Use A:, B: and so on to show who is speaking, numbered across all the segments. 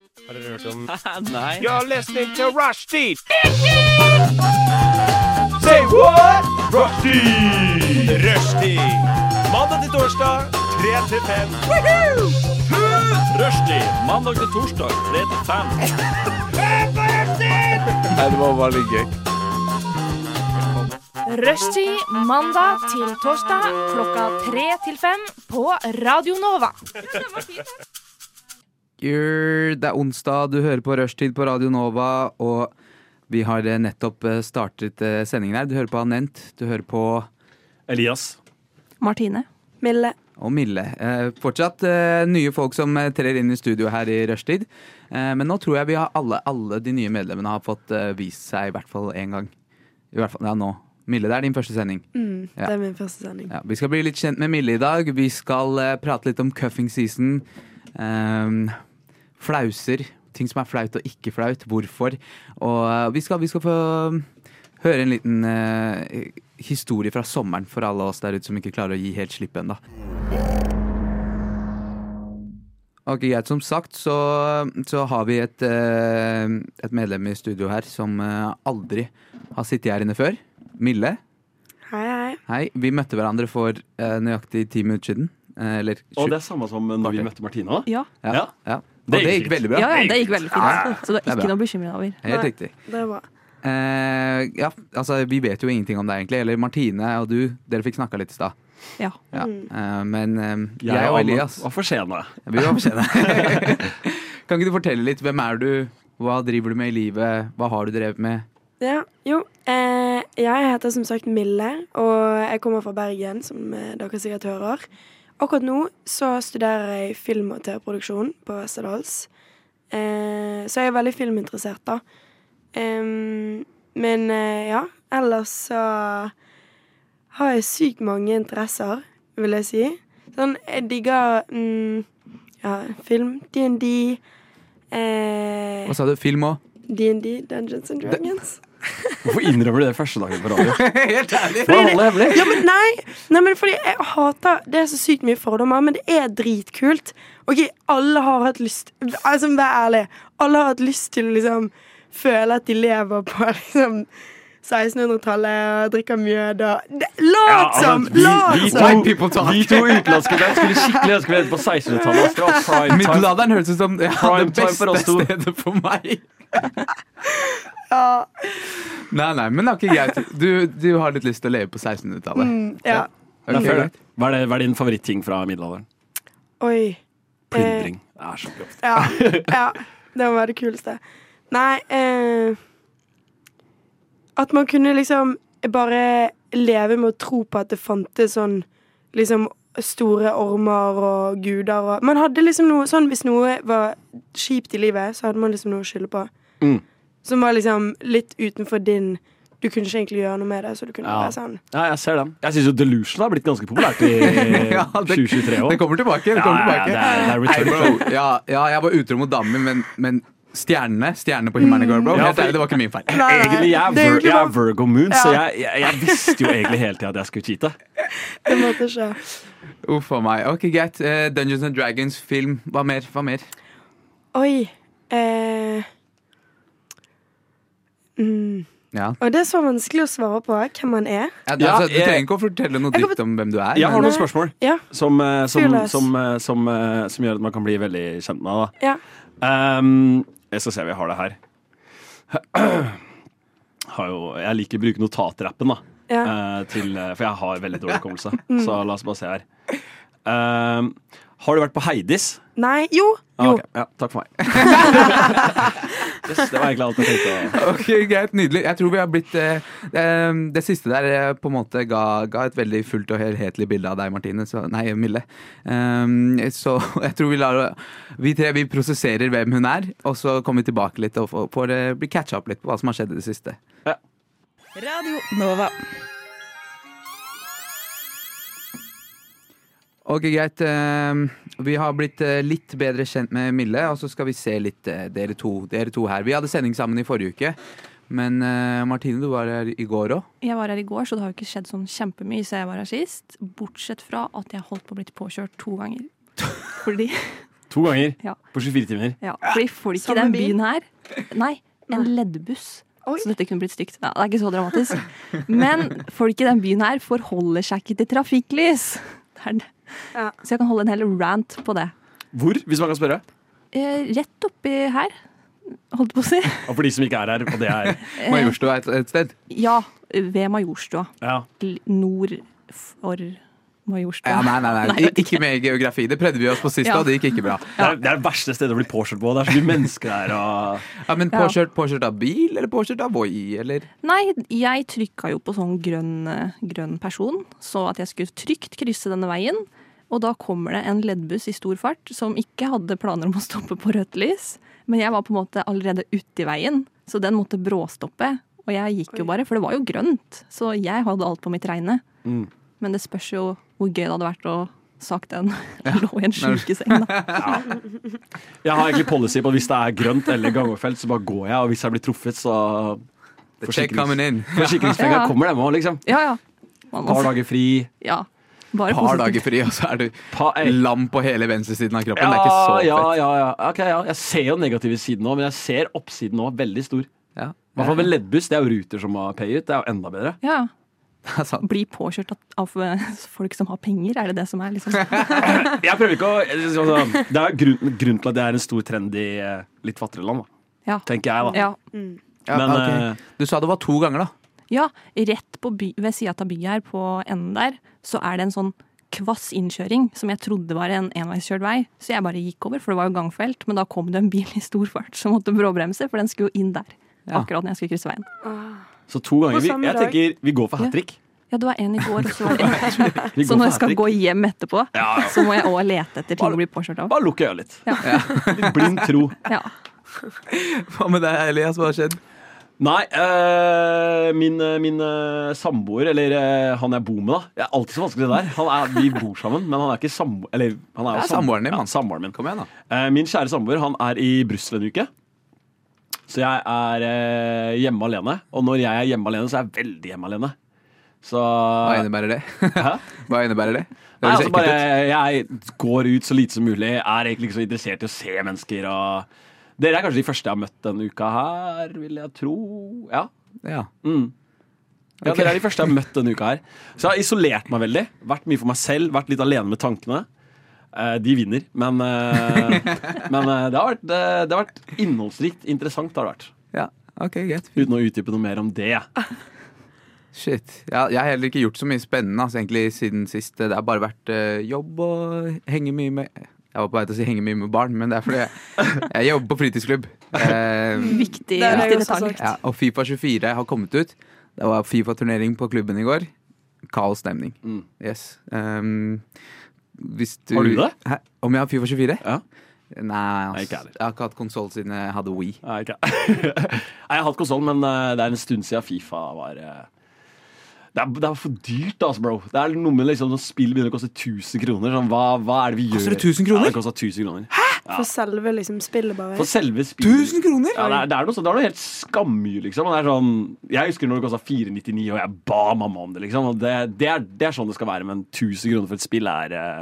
A: Har dere hørt om
B: Nei.
A: You're listening to Rushdie! Say what? Rushdie! Rushdie! Mandag til torsdag, 3 til 5.
B: Rushdie mandag til torsdag 3 til 5.
C: Nei, det var bare litt gøy.
D: Rushtid mandag til torsdag klokka tre til fem på Radio Nova.
C: Yer, Det er onsdag, du hører på Rushtid på Radio Nova, og vi har eh, nettopp eh, startet eh, sendingen her. Du hører på Anent, du hører på
B: Elias.
E: Martine. Mille.
C: og Mille. Eh, Fortsatt eh, nye folk som eh, trer inn i studio her i rushtid. Eh, Men nå tror jeg vi har alle, alle de nye medlemmene har fått eh, vist seg i hvert fall én gang. I hvert fall, ja, nå. Mille, det er din første sending.
E: Mm,
C: Ja.
E: Det er min første sending.
C: Ja, vi skal bli litt kjent med Mille i dag. Vi skal eh, prate litt om cuffing season. Ehm, flauser. Ting som er flaut og ikke flaut. Hvorfor. Og eh, vi, skal, vi skal få um, høre en liten eh, historie fra sommeren for alle oss der ute som ikke klarer å gi helt slipp ennå. Ok, greit. Som sagt så, så har vi et, eh, et medlem i studio her som eh, aldri har sittet her inne før. Mille.
E: Hei, hei.
C: Hei, vi møtte hverandre for eh, nøyaktig ti minutter siden. Eh, eller
B: Og
C: sju-
B: det er samme som når vi
C: Kvarter.
B: møtte Martina.
F: Ja.
C: ja,
B: ja.
C: ja. Og det
B: Det gikk
C: gikk,
B: fint.
C: veldig bra.
F: Ja, ja, det gikk veldig fint. Så det
C: Det er
F: er
C: bra.
F: ikke noe å bekymre deg over.
C: Helt
E: Nei.
C: riktig.
E: Det er bra.
C: Eh, ja, altså vi vet jo ingenting om deg egentlig. Eller Martine og du, dere fikk snakka litt i stad.
F: Ja.
C: Ja.
E: Mm.
C: Eh, men eh, jeg,
B: Jeg
C: og
B: Anna
C: Elias,
B: var for sene.
C: vi var oppkjenne. kan ikke du fortelle litt? Hvem er du? Hva driver du med i livet? Hva har du drevet med?
E: Ja, jo. Eh, jeg heter som sagt Mille, og jeg kommer fra Bergen, som eh, dere sikkert hører. Akkurat nå så studerer jeg film- og TV-produksjon på Westerdals. Eh, så jeg er veldig filminteressert, da. Em, men eh, ja, ellers så har jeg sykt mange interesser, vil jeg si. Sånn, jeg digger mm, ja, film, DND.
C: Hva
E: eh,
C: sa du? Film òg?
E: DND, Dungeons and Dragons.
B: Hvorfor innrømmer du det første dagen på radio?
C: Helt ærlig!
B: Det var alle hemmelig.
E: Ja, men nei, nei men fordi jeg hater Det er så sykt mye fordommer, men det er dritkult. Ok, alle har hatt lyst Altså, vær ærlig. Alle har hatt lyst til å liksom føle at de lever på liksom 1600-tallet og drikker mjød og det, Lat som!
B: altså, vi,
E: lat
B: vi,
C: White
E: som!
B: to,
C: altså, people talk.
B: vi to utenlandske der skulle skikkelig ønske vi het på 1600-tallet. ass. Det var prime time.
C: Middelalderen høres ut som ja,
B: Prime
C: det
B: time
C: beste
B: for oss to.
C: stedet for meg.
E: Ja,
C: Nei, nei, men det er ikke greit. Du, du har litt lyst til å leve på 1600-tallet.
E: mm, ja.
C: Ok,
B: Det er fair,
C: greit. Eh,
B: det. Hva er, det, hva er din favoritting fra middelalderen?
E: Oi.
B: Plyndring. Det er så grovt.
E: Ja. ja. Det var det kuleste. Nei eh, At man kunne liksom bare leve med å tro på at det fantes sånn liksom store ormer og guder og Man hadde liksom noe sånn hvis noe var kjipt i livet, så hadde man liksom noe å skylde på.
B: Mm.
E: Som var liksom litt utenfor din Du kunne ikke egentlig gjøre noe med det, så du kunne
B: Ja.
E: være sånn.
B: Ja, jeg ser den. Jeg syns jo Delusion har blitt ganske populært i
C: Ja, det-
B: 2023
C: Det
B: òg.
C: kommer tilbake. Det kommer tilbake.
B: det er, det er
C: Nei,
B: return, bro.
C: bro. Ja, ja, jeg var utro mot damer, men, men stjernene stjernene på himmelen i går, bro.
B: Ja,
C: Helt
B: for-
C: ærlig, det var ikke min feil.
E: Nei, nei,
B: Egentlig, jeg er,
E: det er jo
B: vir
E: ikke
B: jeg er
E: lov.
B: Virgo Moon, så
E: Ja.
B: jeg, jeg, jeg visste jo egentlig hele tida at jeg skulle cheate.
E: Det måtte skje.
C: Uff a meg. Ok, greit. Eh, Dungeons and Dragons, film. Hva mer? Hva mer?
E: Oi. Eh, mm.
C: Ja.
E: Og det er så vanskelig å svare på eh, hvem man er.
C: Ja,
B: Ja,
C: altså, du
B: jeg-
C: trenger ikke å fortelle noe
E: eh, Jeg kan
C: dritt om hvem du er.
B: Jeg har
C: men-
B: noen
E: Nei.
B: spørsmål
E: Ja,
B: som, eh, som,
E: Fyr løs.
B: som, eh, som, eh, som gjør at man kan bli veldig kjent med deg.
E: ja.
B: Um, jeg skal se om jeg har det her. Har jo, jeg liker å bruke notatappen, da.
E: ja. Mm.
B: eh, til, eh, for jeg har veldig dårlig hukommelse. Så la oss bare se her. Um, har du vært på Heidis?
E: Nei, jo.
B: Ah,
E: Jo.
B: ok. Ja, takk for meg. yes, det var egentlig alt jeg tenkte.
C: Ok, greit, nydelig. Jeg tror vi har blitt eh, eh, Det siste der eh, på en måte ga, ga et veldig fullt og helhetlig bilde av deg, Martine. Så, nei, Mille. Eh, så jeg tror vi lar Vi tre vi prosesserer hvem hun er, og så kommer vi tilbake litt og får, får eh, bli catcha opp litt på hva som har skjedd i det siste.
F: Radio Nova.
C: Ok, greit. Eh, Vi har blitt eh, litt bedre kjent med Mille, og så skal vi se litt eh, dere to, dere to her. Vi hadde sending sammen i forrige uke, men eh, Martine, du var her i går òg.
F: Jeg var her i går, så det har jo ikke skjedd sånn kjempemye siden jeg var her sist. Bortsett fra at jeg holdt på å bli påkjørt to ganger. Fordi
B: To ganger
F: Ja.
B: på 24 timer.
F: Ja, fordi folk i
E: Samme
F: den
E: bil.
F: byen her Nei, en leddbuss.
E: Oi.
F: Så dette kunne blitt stygt. Nei, det er ikke så dramatisk. Men folk i den byen her forholder seg ikke til trafikklys. Det er det.
E: Ja.
F: Så jeg kan holde en hel rant på det.
B: Hvor, hvis man kan spørre?
F: Eh, rett oppi her, holdt på å si.
B: Og for de som ikke er her, og det er
C: Majorstua et, et sted.
F: Ja, ved Majorstua.
B: ja.
F: L- Nord for Majorstua.
C: Ja, nei, nei, nei.
F: jeg vet
C: ikke med geografi. Det prøvde vi oss på sist,
F: Ja.
C: og det gikk ikke bra.
B: Det, er, det er det verste stedet å bli påkjørt på. Det er så mye mennesker der. Og...
C: Ja, men
F: Ja.
C: påkjørt, påkjørt av bil, eller påkjørt av Voi, eller?
F: Nei, jeg trykka jo på sånn grønn, eh, grønn person, så at jeg skulle trygt krysse denne veien. Og da kommer det en leddbuss i stor fart som ikke hadde planer om å stoppe på rødt lys. Men jeg var på en måte allerede uti veien, så den måtte bråstoppe. Og jeg gikk jo bare, for det var jo grønt. Så jeg hadde alt på mitt regne.
B: Mm.
F: Men det spørs jo hvor gøy det hadde vært å sagt den lå i en sjukeseng, da.
B: Jeg har egentlig policy på at hvis det er grønt eller gangfelt, så bare går jeg. Og hvis jeg blir truffet, så
C: The check coming in.
B: Forsikringspenger
F: Ja.
B: kommer dem òg, liksom.
F: Ja, ja. Man må-
B: Par dager fri.
F: Ja. Bare
C: Par
F: positivt.
C: dager fri, og så er du
B: Pa, eh,
C: lam på hele venstresiden av kroppen.
B: ja,
C: det er ikke så fett.
B: ja, ja, ja. Ok, ja. Jeg ser jo den negative siden òg, men jeg ser oppsiden òg. Veldig stor. I
C: Ja.
B: hvert fall med leddbuss. Det er jo Ruter som har payet. Det er jo enda bedre.
F: Ja, ja.
C: Det er sant.
F: bli påkjørt av- av eh, folk som har penger, er det det som er liksom
B: Jeg prøver ikke å altså, Det er grunn, grunnen til at det er en stor trend i eh, litt fattigere land, da.
F: Ja.
B: tenker jeg. da
F: Ja,
C: Ja,
B: Men
C: ok.
B: eh,
C: Du sa det var to ganger, da.
F: ja rett på by, ved sida av byen her, på enden der, så er det en sånn kvass innkjøring som jeg trodde var en enveiskjørt vei, så jeg bare gikk over, for det var jo gangfelt, men da kom det en bil i stor fart som måtte bråbremse, for den skulle jo inn der,
C: Ja.
F: akkurat når jeg skulle krysse veien.
B: så to ganger.
E: På
B: Vi,
E: samme
B: jeg
E: dag.
B: tenker vi går for hat trick.
F: Ja, det var en i går, og så var det en.
B: Vi
F: Så
B: går for
F: når jeg skal
B: hat-trick.
F: gå hjem etterpå,
B: Ja, ja.
F: så må jeg òg lete etter ting å bli påkjørt av.
B: Bare lukke øya litt.
F: Ja.
B: Litt blind tro.
F: Ja.
C: Hva med deg, Elias? Hva har skjedd?
B: Nei, eh, min, eh, min eh, samboer, eller eh, han jeg bor med, da. Det er alltid så vanskelig det der. Han er, vi bor sammen, men han er ikke samboer Eller han er, jo
C: Det er
B: sam-
C: samboeren din,
B: ja,
C: mann.
B: samboeren min.
C: Kom igjen, da.
B: Eh, Min kjære samboer han er i Brussel en uke. Så jeg er eh, hjemme alene. Og når jeg er hjemme alene, så er jeg veldig hjemme alene. Så
C: Hva innebærer det?
B: Ah. Hæ?
C: Hva innebærer det? Det
B: Nei,
C: høres
B: altså
C: ekkelt
B: bare,
C: ut.
B: jeg går ut så lite som mulig. Er egentlig ikke så interessert i å se mennesker. Og Dere er kanskje de første jeg har møtt denne uka her, vil jeg tro. Ja,
C: Ja.
B: Mm. Ja,
C: Ok.
B: Dere er de første jeg har møtt denne uka. her Så jeg har isolert meg veldig. Vært mye for meg selv, vært litt alene med tankene. Eh, de vinner, men, eh, men eh, det, har vært, det, det har vært innholdsrikt. Interessant har det vært.
C: ja. Ok, greit.
B: Uten å utdype noe mer om det.
C: Shit. Ja, jeg har heller ikke gjort så mye spennende altså, egentlig siden sist. Det har bare vært eh, jobb og henge mye med Jeg var på vei til å si henge mye med barn, men det er fordi jeg, jeg jobber på fritidsklubb. Eh,
F: Viktig,
E: Det er det
F: viktig
E: jeg også sånn-
F: detalj.
E: sagt.
C: ja, og Fifa 24 har kommet ut. Det var Fifa-turnering på klubben i går. Kaos stemning.
B: Mm.
C: Yes. Um, hvis du,
B: Har du det?
C: Hæ? Om jeg har Fifa 24?
B: Ja.
C: Nei,
B: Nei,
C: ass.
B: ikke heller.
C: jeg har ikke hatt konsoll siden jeg hadde Wii.
B: Nei, ikke. Nei, jeg har hatt konsoll, men eh, det er en stund siden Fifa var eh, det er, det er for dyrt, altså, bro. Det er noe med liksom, Når spill begynner å koste 1000 kroner, sånn, hva, hva er det vi gjør?
C: Koster det 1000 kroner?
B: Ja, det koster 1000 kroner.
E: For selve liksom spillet, bare.
B: For selve spillet.
C: 1000 kroner?
B: Ja, det, er, det, er noe, sånt- det er noe helt skammy, liksom. Og Det er sånn, jeg husker når det kosta 499, og jeg ba mamma om det. liksom. Og det, det, er, det er sånn det skal være, men 1000 kroner for et spill er eh,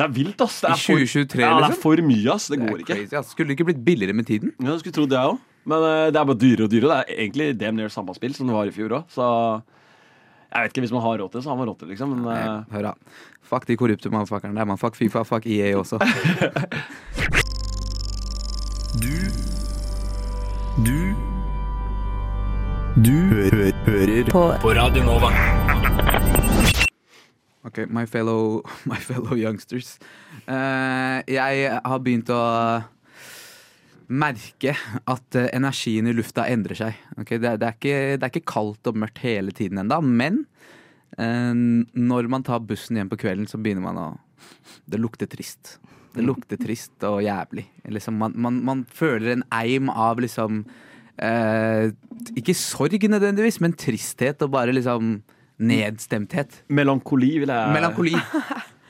B: Det er vilt, ass.
C: I
B: Det er for-
C: 2023,
B: ja, det
C: liksom?
B: er for mye, ass. Det
C: Det er
B: går ikke.
C: crazy, ass. Skulle det ikke blitt billigere med tiden?
B: Ja, jeg skulle trodd det, jeg òg. Men eh, det er bare dyrere og dyrere. Det er egentlig damn near samme spill som det var i fjor òg. Så jeg vet ikke, hvis man har råd til det, så har man råd til det, liksom. Men eh,
C: Nei, Hør da. Fuck de korrupte mannfuckerne der, mann. Fuck Fifa, fuck EA også.
G: Du Du Du hø hø hører på. Radio Nova.
C: Ok, my fellow, my fellow youngsters. Eh, jeg har begynt å merke at eh, energien i lufta endrer seg. Ok, det, er- det, er ikke, det er ikke kaldt og mørkt hele tiden ennå, men eh, når man tar bussen hjem på kvelden, så begynner man å Det lukter trist. Det lukter trist og jævlig. Liksom, man, man, man føler en eim av liksom eh, Ikke sorg nødvendigvis, men tristhet og bare liksom nedstemthet.
B: melankoli vil jeg
C: Melankoli.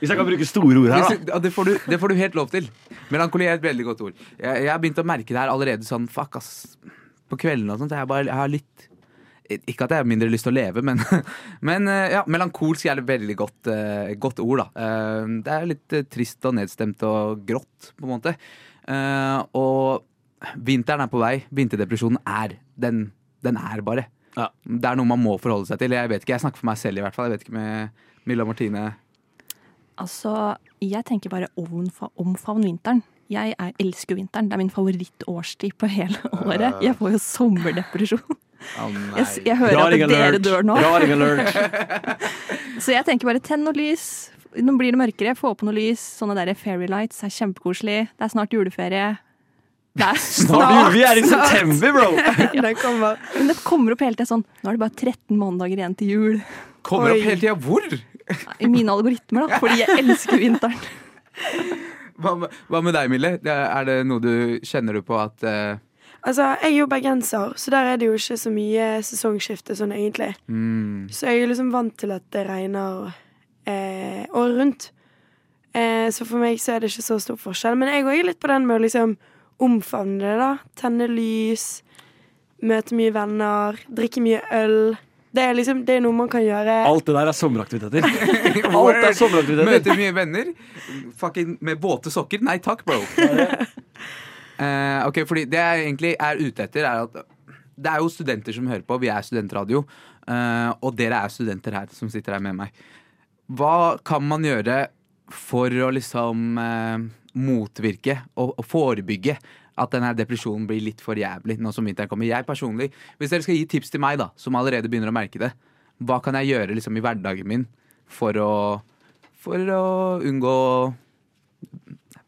B: Hvis jeg kan bruke store ord her,
C: Hvis
B: da.
C: du- ja, det, får du, det får du helt lov til. Melankoli er et veldig godt ord. Jeg, jeg har begynt å merke det her allerede sånn fuck, ass. På kveldene og sånt. Jeg, bare, jeg har litt Ikke at jeg har mindre lyst til å leve, men, men eh, ja, melankolsk er et veldig godt, eh, godt ord. da. Eh, Det er litt eh, trist og nedstemt og grått, på en måte. Eh, Og vinteren er på vei. Vinterdepresjonen er Den, den er bare.
B: Ja.
C: Det er noe man må forholde seg til. Jeg vet ikke, jeg snakker for meg selv i hvert fall. Jeg vet ikke med Milla Martine.
F: Altså, jeg tenker bare omfa- omfavn vinteren. Jeg er, elsker jo vinteren. Det er min favorittårstid på hele året. Jeg får jo sommerdepresjon. Jeg, s- jeg hører at
B: Raring
F: dere
B: alert.
F: dør nå.
B: Raring alert.
F: Så jeg tenker bare tenn noe lys. Nå blir det mørkere, få på noe lys. Sånne der fairy lights er kjempekoselig. Det er snart juleferie. Det er
B: Snart,
F: snart.
B: vi er i september, bro!
E: Den kommer.
F: Men det kommer opp hele tida sånn Nå er det bare 13 mandager igjen til jul.
C: Kommer
E: Oi.
C: opp hele tida. Hvor?
F: I mine algoritmer, da. Fordi jeg elsker vinteren.
C: Hva med, hva med deg, Mille? Det- Er det noe du kjenner du på at eh,
E: Altså, jeg er jo bergenser, så der er det jo ikke så mye sesongskifte sånn egentlig.
C: mm,
E: Så jeg er liksom vant til at det regner eh, året rundt. Eh, så for meg så er det ikke så stor forskjell. Men jeg òg er litt på den med å liksom omfavne det, da. Tenne lys, møte mye venner, drikke mye øl. Det er liksom, det er noe man kan gjøre.
B: Alt det der er sommeraktiviteter. Alt er sommeraktiviteter.
C: Møter mye venner. Fucking med våte sokker. Nei takk, bro. Eh, ok, fordi Det jeg egentlig er ute etter, er at det er jo studenter som hører på. Vi er studentradio. eh, og dere er studenter her, som sitter her med meg. Hva kan man gjøre for å liksom eh, motvirke og, og forebygge at denne depresjonen blir litt for jævlig nå som vinteren kommer? Jeg personlig, Hvis dere skal gi tips til meg, da, som allerede begynner å merke det, hva kan jeg gjøre liksom, i hverdagen min for å, for å unngå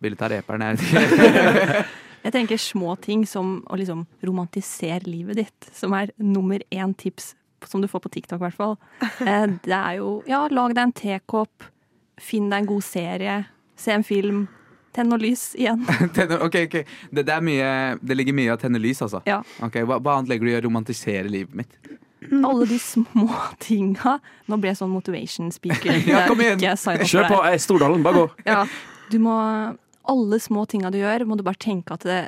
C: Ville ta reperen, jeg vet ikke.
F: Jeg tenker små ting som å liksom romantisere livet ditt, som er nummer én tips som du får på TikTok, i hvert fall. Eh, Det er jo Ja, lag deg en tekopp. Finn deg en god serie. Se en film. Tenn noe lys igjen.
C: Tenner- ok, ok. Det, det, er mye, det ligger mye i å tenne lys, altså.
F: Ja.
C: Ok, hva, hva annet legger du i å romantisere livet mitt?
F: Alle de små tinga. Nå ble jeg sånn motivation speaker.
C: Ja, kom igjen.
F: Ikke sign opp for
B: Kjør på.
F: det.
B: eh, Stordalen, bare gå.
F: Ja. Du må Alle små tinga du gjør, må du bare tenke at det,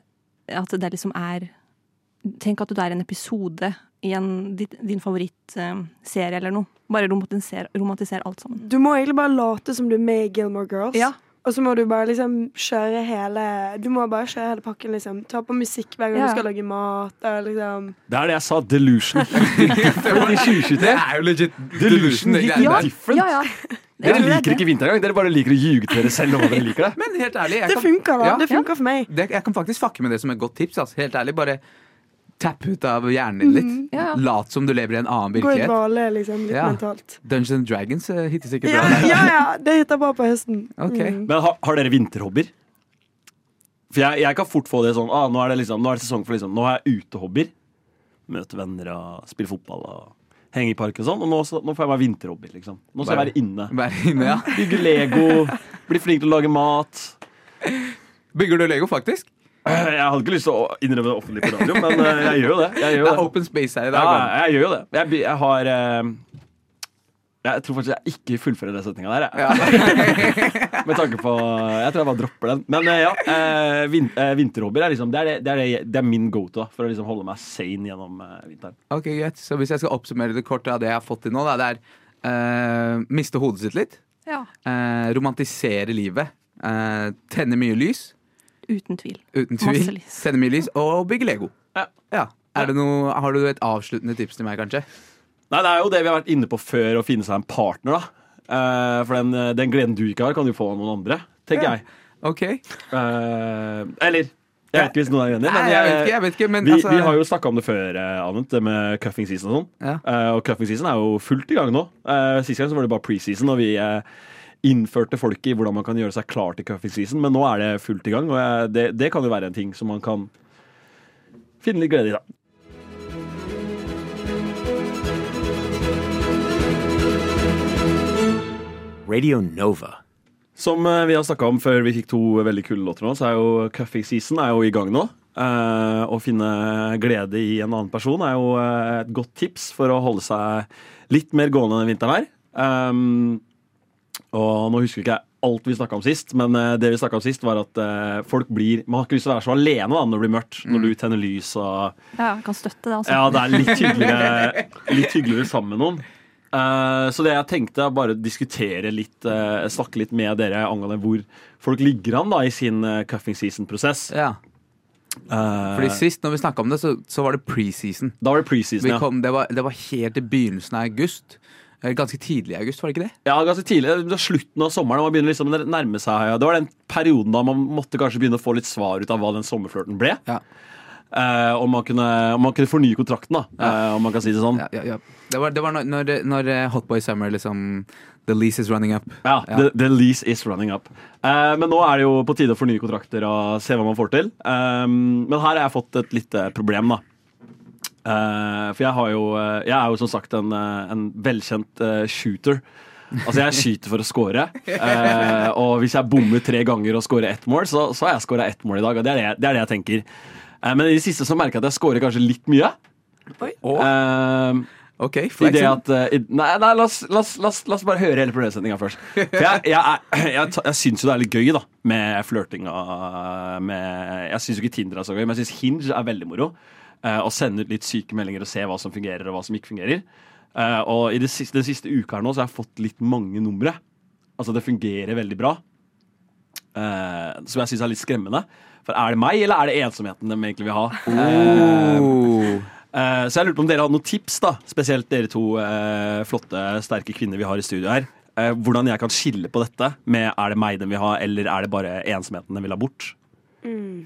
F: at det liksom er Tenk at du er en episode i en, din, din favorittserie eller noe. Bare romantiser, romantiser alt sammen.
E: Du må egentlig bare late som du er med i Gilmore Girls.
F: Ja.
E: Og så må du bare liksom kjøre hele Du må bare kjøre hele pakken, liksom. Ta på musikk hver gang
F: Ja.
E: du skal lage mat. Og liksom
B: Det er det jeg sa. Delusion. Fordi
C: Det
B: 2023.
C: er jo legit
B: Delusion,
C: det
B: hit
C: greiene
B: ja.
C: der.
B: different.
F: Ja, ja.
B: Dere liker ikke vinter engang. Dere bare liker å ljuge til dere selv om dere liker det.
C: Men helt ærlig, jeg
E: Det
C: kan,
E: funker, da.
C: Ja.
E: det funker for meg.
C: det, jeg kan faktisk fucke med det som et godt tips. Altså. Helt ærlig, bare tapp ut av hjernen din litt.
F: Mm, Ja, ja.
C: Lat som du lever i en annen
E: Gå i
C: virkelighet.
E: dvale, liksom. Litt
C: Ja.
E: mentalt.
C: Dungeons and Dragons eh, hittes ikke
E: Ja,
C: bra. der.
E: ja, ja. Det heter bra på høsten.
C: Ok.
F: Mm.
B: Men har, har dere vinterhobbyer? For jeg, jeg kan fort få det sånn ah, nå, er det liksom, nå er det sesong for liksom Nå har jeg utehobbyer. Møte venner og spille fotball og henge i park og sånn. Og nå, så, nå får jeg meg vinterhobbyer, liksom. Nå skal jeg være inne.
C: Vær inne, ja.
B: Bygge Lego. Bli flink til å lage mat.
C: Bygger du Lego, faktisk?
B: Eh, Jeg hadde ikke lyst til å innrømme det offentlig på radio, men eh, jeg gjør jo det. Jeg gjør
C: Det
B: jo
C: er
B: det.
C: open space her i
B: Ja,
C: dag. mann.
B: jeg gjør jo det. Jeg, by- jeg har eh, Jeg tror faktisk jeg ikke fullfører den setninga der. Jeg. Med tanke på Jeg tror jeg bare dropper den. Men eh, ja, eh, vin, eh, vinterhobbyer er liksom Det er, det, det er, det, det er min go to da, for å liksom holde meg sane gjennom eh, vinteren.
C: Ok, greit. Så hvis jeg skal oppsummere det kort av det jeg har fått til nå, da, det er eh, miste hodet sitt litt.
F: Ja,
C: eh, romantisere livet. eh, tenne mye lys,
F: uten tvil.
C: uten tvil.
F: Masse lys.
C: Tenne mye lys og bygge Lego.
B: Ja.
C: Er det noe, har du et avsluttende tips til meg, kanskje?
B: Nei, det er jo det vi har vært inne på før, å finne seg en partner, da. Eh, for den, eh, den gleden du ikke har, kan du få av noen andre, tenker
C: Ja.
B: jeg.
C: Ok.
B: Eh, eller jeg vet ikke hvis noen er enig,
C: Nei,
B: men
C: jeg vet ikke, jeg vet ikke, men
B: Vi,
C: altså-
B: vi har jo snakka om det før, eh, Anent, det med cuffing season og sånn.
C: Ja.
B: Eh, og cuffing season er jo fullt i gang nå. Uh, Sist gang så var det bare preseason, og vi eh, innførte folk i hvordan man kan gjøre seg klar til cuffing season, men nå er det fullt i gang, og jeg, det, det kan jo være en ting som man kan finne litt glede i, da.
G: Radio Nova.
B: Som eh, vi har snakka om før vi fikk to veldig kule låter nå, så er jo cuffing season er jo i gang nå. Eh, å finne glede i en annen person er jo eh, et godt tips for å holde seg litt mer gående denne vinteren her. Um, Og nå husker ikke jeg alt vi snakka om sist, men eh, det vi snakket om sist, var at eh, folk blir Man har ikke lyst til å være så alene da, når det blir mørkt, når du tenner lys og
F: Ja, jeg kan støtte det, altså.
B: Ja, det er litt hyggeligere, litt hyggeligere sammen med noen. Eh, så det jeg tenkte, er bare å diskutere litt, eh, snakke litt med dere angående hvor folk ligger an da i sin eh, cuffing season-prosess.
C: Ja,
B: Eh,
C: fordi sist når vi snakka om det, så, så var det preseason.
B: da var det
C: Vi
B: preseason, ja.
C: kom, det, var, det var helt i begynnelsen av august. Eller ganske tidlig i august, var det ikke det?
B: ja. Ganske tidlig. Det var slutten av sommeren. Man begynner liksom å nærme seg ja. Det var den perioden da man måtte kanskje begynne å få litt svar ut av hva den sommerflørten ble.
C: Ja.
B: Eh, om, man kunne, om man kunne fornye kontrakten, da, eh, om man kan si det sånn.
C: Ja, ja, ja. Det var, det var når, når, når Hotboy Summer liksom The lease is running up.
B: Ja,
C: Ja.
B: The, the lease is running up. Eh, men nå er det jo på tide å fornye kontrakter og se hva man får til. Um, men her har jeg fått et lite problem, da. Eh, for jeg, har jo, eh, jeg er jo som sagt en, eh, en velkjent eh, shooter. Altså, jeg skyter for å score. eh, og hvis jeg bommer tre ganger og scorer ett mål, så, så har jeg scora ett mål i dag. Og det er det, jeg- det, er det jeg tenker. Eh, men i det siste så merker jeg at jeg scorer kanskje litt mye.
E: Oi.
B: Eh,
C: Ok,
B: i det
C: flexing.
B: at, eh, i- nei, nei la, oss, la, oss, la, oss, la oss bare høre hele problemstillinga først. For jeg, jeg, er- jeg, ta- jeg syns jo det er litt gøy da med flørting. og med- Jeg syns jo ikke Tinder er så gøy, men jeg syns Hinge er veldig moro. Eh, å sende ut litt syke meldinger og se hva som fungerer og hva som ikke fungerer. Eh, og i det siste, den siste uka her nå så har jeg fått litt mange numre. Altså det fungerer veldig bra. Eh, som jeg syns er litt skremmende. For er det meg, eller er det ensomheten de egentlig vil ha? Eh,
C: Oh.
B: Eh, Så jeg lurte på om dere hadde noen tips, da spesielt dere to eh, flotte, sterke kvinner vi har i studio her. Eh, hvordan jeg kan skille på dette med er det meg den vil ha, eller er det bare ensomheten den vil ha bort?
E: Mm.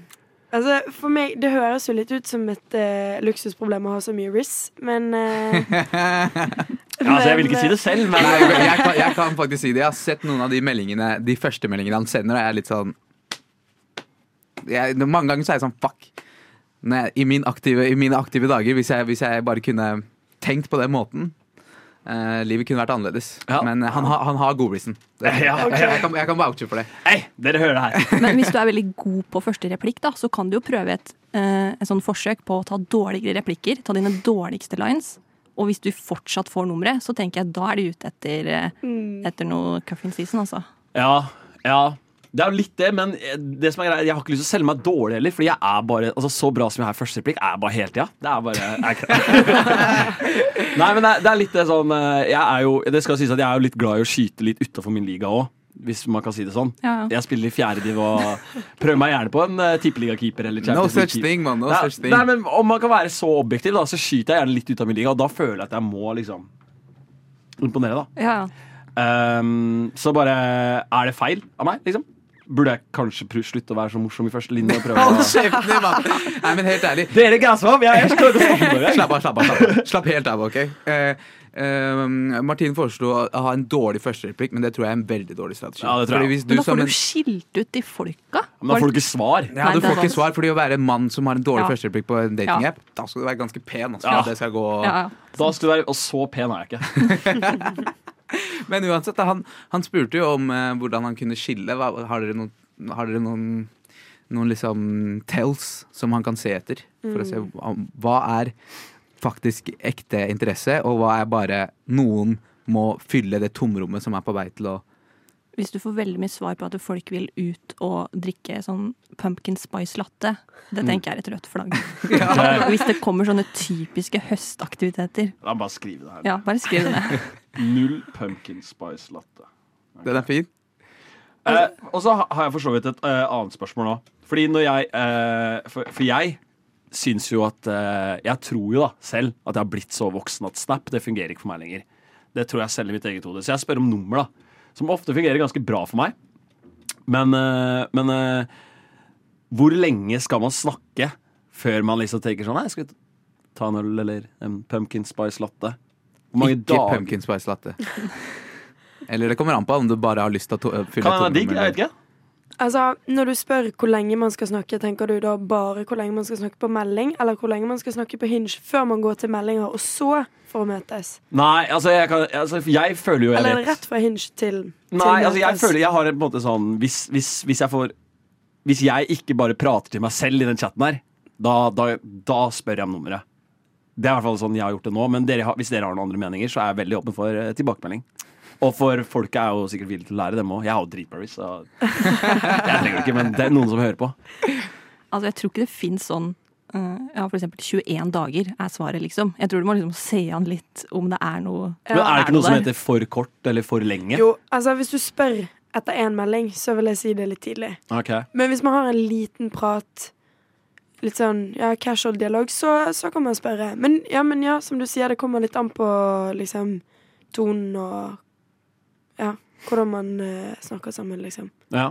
E: Altså, for meg, Det høres jo litt ut som et eh, luksusproblem å ha så mye riss, men eh,
B: Ja, altså, jeg vil ikke si det selv, men
C: Nei, jeg, jeg, kan, jeg kan faktisk si det. Jeg har sett noen av de meldingene De første meldingene han sender, og jeg er litt sånn jeg, Mange ganger så er jeg sånn fuck. Når jeg, i, min aktive, I mine aktive dager, hvis jeg, hvis jeg bare kunne tenkt på den måten eh, Livet kunne vært annerledes.
B: Ja.
C: Men eh, han, har- han har godbrisen. Det-
B: Ja, ok.
C: jeg, jeg, kan- jeg kan vouche for det.
B: hei, dere hører det her.
F: Men hvis du er veldig god på første replikk, da, så kan du jo prøve et, eh, et sånn forsøk på å ta dårligere replikker. Ta dine dårligste lines. Og hvis du fortsatt får nummeret, så tenker jeg da er du ute etter, eh, etter noe cuffing season, altså.
B: Ja, ja. Det er jo litt det, men eh, det som er greit, jeg har ikke lyst til å selge meg dårlig heller. Fordi jeg er bare, altså Så bra som jeg er i første replikk, er jeg bare hele tida. Det er bare jeg er ikke- Nei, men det er, det er litt det sånn eh, Jeg er jo, det skal sies at jeg er jo litt glad i å skyte litt utafor min liga òg, hvis man kan si det sånn.
F: Ja, ja.
B: Jeg spiller i fjerde div og prøver meg gjerne på en uh, tippeligakeeper. eller
C: No
B: Champions
C: such
B: League-keeper.
C: thing, man. No
B: Nei,
C: such thing.
B: nei, men Om man kan være så objektiv, da, så skyter jeg gjerne litt ut av min liga. Og da føler jeg at jeg må liksom imponere, da.
F: ja. ja.
B: Ehm, så bare Er det feil av meg, liksom? Burde jeg kanskje pr- slutte å være så morsom i første linje? og prøve
C: Hold
B: å...
C: kjeften din, mann! Nei, men helt ærlig.
B: Dere gasser opp! Jeg, jeg klarer ikke å stoppe dere.
C: Slapp av, slapp av. Slapp, av. slapp helt av, OK? Eh, eh, Martin foreslo å ha en dårlig førstereplikk, men det tror jeg er en veldig dårlig strategi.
B: Ja, det tror jeg.
C: Fordi hvis du
F: Men da
C: som
F: får
C: en-
F: du skilt ut de folka.
B: Men da får du ikke svar.
C: ja, du
F: Nei, det er
C: får ikke
F: sant.
C: svar, fordi å være en mann som har en dårlig
F: Ja.
C: førstereplikk på en datingapp, da skal du være ganske pen. Altså, for
B: Ja.
C: at det skal gå.
F: Ja, ja.
B: Da skal du være, Og så pen er jeg ikke.
C: Men uansett, da, han, han spurte jo om eh, hvordan han kunne skille. Hva, har dere noen, har dere noen, noen liksom tells som han kan se etter? For å se hva, hva er faktisk ekte interesse, og hva er bare noen må fylle det tomrommet som er på vei til å
F: Hvis du får veldig mye svar på at folk vil ut og drikke sånn pumpkin spice latte,
B: Mm.
F: det tenker jeg er et rødt flagg. Hvis det kommer sånne typiske høstaktiviteter.
B: La meg bare skrive det her.
F: Ja, bare skriv det ned.
B: Null pumpkin spice latte.
C: Den er fin.
B: Eh, og så ha- har jeg for så vidt et eh, annet spørsmål nå. Fordi når jeg eh, for, for jeg syns jo at eh, Jeg tror jo da selv at jeg har blitt så voksen at Snap det fungerer ikke for meg lenger. Det tror jeg selv i mitt eget hode. Så jeg spør om nummer, da. Som ofte fungerer ganske bra for meg. Men, eh, men eh, hvor lenge skal man snakke før man liksom tenker sånn Nei, skal vi ta en øl eller en pumpkin spice latte? Hvor mange
C: Ikke
B: dager
C: pumpkin spice latte. Eller det kommer an på om du bare har lyst til å to fylle
B: Kan være
C: tomrommet
B: digg?
C: med-
B: Jeg vet ikke.
E: altså, når du spør hvor lenge man skal snakke, tenker du da bare hvor lenge man skal snakke på melding, eller hvor lenge man skal snakke på hinge før man går til meldinger, og så for å møtes?
B: Nei, altså jeg, kan, altså jeg føler jo jeg
E: Eller er
B: vet.
E: det rett fra hinge til, til
B: Nei, altså jeg
E: møtes?
B: føler jeg har en på en måte sånn Hvis, hvis, hvis jeg får Hvis jeg ikke bare prater til meg selv i den chatten her Da, da, da spør jeg om nummeret Det er i hvert fall sånn jeg har gjort det nå Men dere har, hvis dere har noen andre meninger Så er jeg veldig åpen for eh, tilbakemelding Og for folket er jo sikkert villige til å lære, dem òg. Jeg har jo dritparis, så jeg trenger det ikke, men det er noen som hører på.
F: Altså, jeg tror ikke det fins sånn eh, ja, for eksempel 21 dager er svaret, liksom. Jeg tror du må liksom se an litt om det er noe
B: Men er det ikke noe som
F: der?
B: heter for kort eller for lenge?
E: Jo, altså hvis du spør etter én melding, så vil jeg si det er litt tidlig.
B: Ok.
E: Men hvis man har en liten prat, litt sånn ja, casual dialog, så, så kan man spørre. Men ja, men ja, som du sier, det kommer litt an på liksom tonen og Ja, hvordan man eh, snakker sammen, liksom.
B: Ja.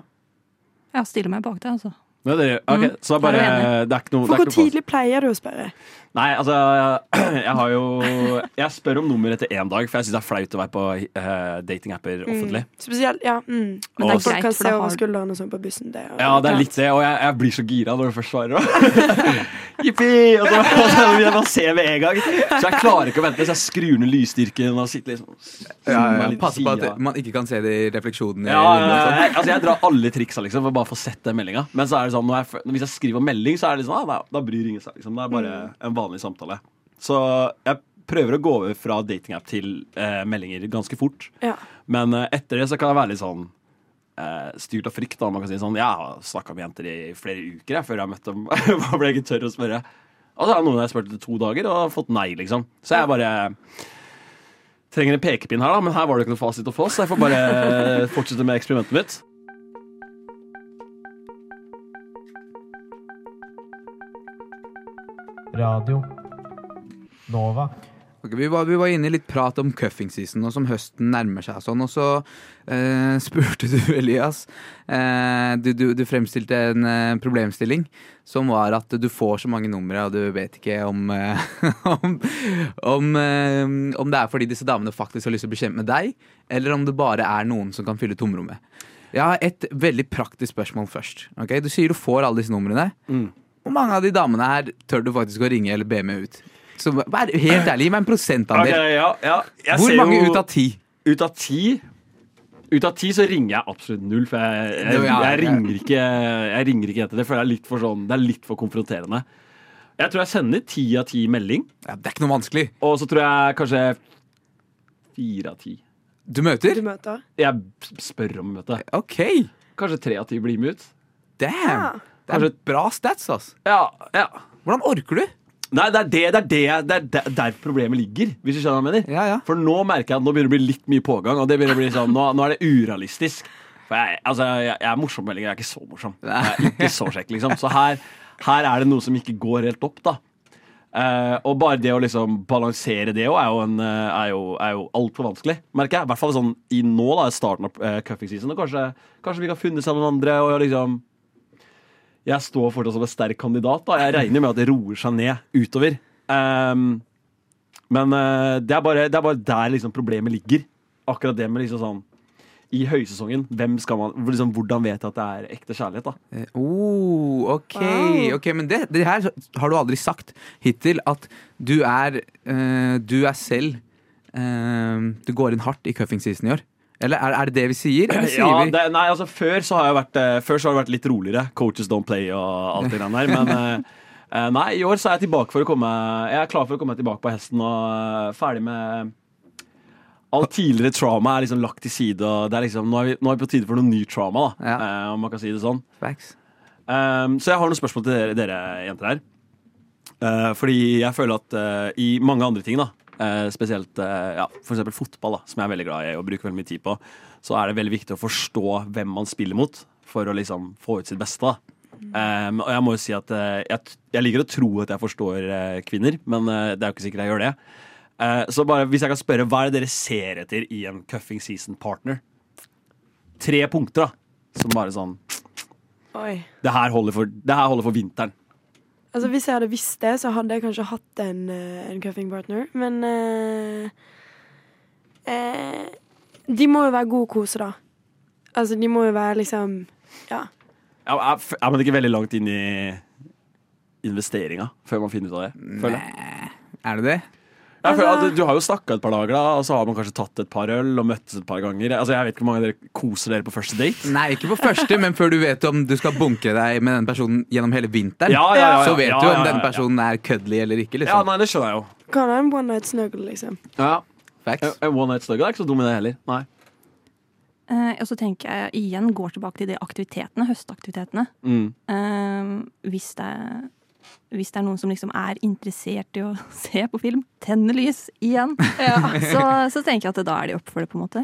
F: Ja, stille meg bak deg, altså.
B: Nei, det, er- ok,
F: Mm.
B: Så det er bare
F: Er du
B: Det er ikke noe
E: For
B: det
E: hvor
B: er ikke noe-
E: tidlig pleier du å spørre?
B: Nei, altså Jeg har jo Jeg spør om nummer etter én dag, for jeg syns det er flaut å være på eh, datingapper offentlig.
E: Mm, spesielt, ja. Mm.
F: Men det er
E: Folk
F: greit,
E: kan
F: for
E: se
F: da har
E: over
F: du-
E: skulderen og sånn på bussen. Det,
B: Ja, det er litt det, og jeg, jeg blir så gira når du først svarer òg. Jippi! Og så og så vil jeg bare se med en gang. Så jeg klarer ikke å vente, så jeg skrur ned lysstyrken og sitter liksom
C: Ja,
B: litt
C: Passe på
B: sida.
C: at man ikke kan se det i refleksjonene. i
B: ja,
C: vinduet og sånn.
B: jeg, altså jeg drar alle triksa liksom, for å bare få sett den meldinga. Men så er det sånn, når jeg, f- hvis jeg skriver melding, så er det liksom, ah, nei, da bryr ingen seg. Liksom. Det er bare en vanlig samtale. Så jeg prøver å gå over fra datingapp til eh, meldinger ganske fort.
E: Ja.
B: Men eh, etter det så kan jeg være litt sånn eh, styrt av frykt. Da. Man kan si sånn, Jeg har snakka med jenter i flere uker jeg, før jeg møtte dem. Hva ble jeg ikke tør å spørre? Og så er det noen jeg har spurt etter to dager og fått nei, liksom. Så jeg bare trenger en pekepinn her, da, men her var det ikke noe fasit å få, så jeg får bare eh, fortsette med eksperimentet mitt.
H: Radio Nova.
C: Ok, vi, var, vi var inne i litt prat om cuffing season, og som høsten nærmer seg og sånn. Og så eh, spurte du, Elias. Eh, du, du, du fremstilte en eh, problemstilling som var at du får så mange numre, og du vet ikke om eh, om, om, eh, om det er fordi disse damene faktisk har lyst til å bli kjent med deg, eller om det bare er noen som kan fylle tomrommet. Jeg har et veldig praktisk spørsmål først. ok? Du sier du får alle disse numrene.
B: Mm.
C: Hvor mange av de damene her tør du faktisk å ringe eller be med ut? Så vær helt ærlig, gi meg en prosentandel.
B: Ok, ja, ja. Jeg
C: Hvor
B: ser
C: mange
B: jo,
C: ut av ti?
B: ut av ti? Ut av ti så ringer jeg absolutt null, for jeg, jeg,
C: Jo,
B: jeg,
C: ja, ja.
B: ringer ikke Jeg ringer ikke etter det, for det er litt for, sånn, det er litt for konfronterende. Jeg tror jeg sender ti av ti melding,
C: Ja, det er ikke noe vanskelig.
B: og så tror jeg kanskje fire av ti.
C: Du møter?
E: Du møter?
B: Jeg s- spør om møte.
C: Ok,
B: Kanskje tre av ti blir med ut.
C: damn. Det er bra stats, ass.
B: Ja, ja.
C: Hvordan orker du?
B: Nei, det er, det, det, er det, det er der- der problemet ligger, hvis du skjønner hva jeg mener.
C: Ja, ja.
B: For nå merker jeg at nå begynner det å bli litt mye pågang, og det begynner å bli sånn, nå, nå er det urealistisk. For jeg, altså, jeg, jeg er morsom på meldinger, jeg er ikke så morsom. Jeg er ikke så kjekk, liksom. Så her, her er det noe som ikke går helt opp, da. Eh, og bare det å liksom balansere det òg er jo, en, eh, er jo, er jo altfor vanskelig, merker jeg. I hvert fall sånn i nå, da, i starten av uh, cuffing season. Og kanskje, kanskje vi kan funne sammen med andre. Og liksom Jeg står fortsatt som en sterk kandidat. da Jeg regner med at det roer seg ned utover. Um, men eh, det, er bare, det er bare der liksom problemet ligger. Akkurat det med liksom sånn I høysesongen, hvem skal man, hvor- liksom, hvordan vet jeg at det er ekte kjærlighet? da?
C: Eh, Oh, ok, ok, men det, det her har du aldri sagt hittil, at du er, eh, du er selv, eh, du går inn hardt i cuffing season i år. Eller er, er det det vi sier? Eller sier
B: Ja,
C: vi?
B: det, nei, altså Før så har jeg vært, eh, før så har det vært litt roligere. Coaches don't play og alt det grann der. Men eh, eh, nei, i år så er jeg tilbake for å komme Jeg er klar for å komme tilbake på hesten og eh, ferdig med Alt tidligere trauma er liksom lagt til side. og det er liksom, Nå er vi, nå er vi på tide for noe ny trauma, da,
C: Ja.
B: eh, om man kan si det sånn.
C: Facts.
B: Um, så jeg har noen spørsmål til dere, dere jenter her. Eh, fordi jeg føler at eh, i mange andre ting, da, eh, spesielt eh, ja, for eksempel fotball, da, som jeg er veldig glad i og bruker veldig mye tid på, så er det veldig viktig å forstå hvem man spiller mot, for å liksom få ut sitt beste. da. Um, og jeg må jo si at eh, jeg, t- jeg liker å tro at jeg forstår eh, kvinner, men eh, det er jo ikke sikkert jeg gjør det. Eh, så bare hvis jeg kan spørre, hva er det dere ser etter i en cuffing season partner? Tre punkter, da. Som bare sånn
E: Oi.
B: det her holder for, det her holder for vinteren.
E: Altså Hvis jeg hadde visst det, så hadde jeg kanskje hatt en, eh, en cuffing partner. Men eh, eh, De må jo være gode å kose, da. Altså, de må jo være liksom Ja.
B: Er, er, er man ikke veldig langt inn i investeringa før man finner ut av det? Føler jeg.
C: Er det det?
B: Jeg føler at du, du har jo snakka et par dager, da, og så har man kanskje tatt et par øl og møttes et par ganger. Altså, jeg vet ikke hvor mange av dere koser dere på første date.
C: Nei, ikke på første, men før du vet om du skal bunkre deg med den personen gjennom hele vinteren,
B: Ja, ja, ja,
C: så vet
B: ja,
C: du
B: ja,
C: om
B: ja,
C: den
B: ja.
C: personen er køddelig eller ikke,
B: Ja,
C: liksom.
B: nei, det skjønner jeg jo. Eh,
E: Kan ha en one night snuggle, liksom.
B: Ja.
C: Facts.
B: En one night snuggle er ikke så dum i det heller. Nei.
F: Eh, og så tenker jeg igjen går tilbake til de aktivitetene, høstaktivitetene.
B: Mm.
F: Eh, hvis, det er, hvis det er noen som liksom er interessert i å se på film, tenne lys igjen, så, så tenker jeg at da er de opp for det, på en måte.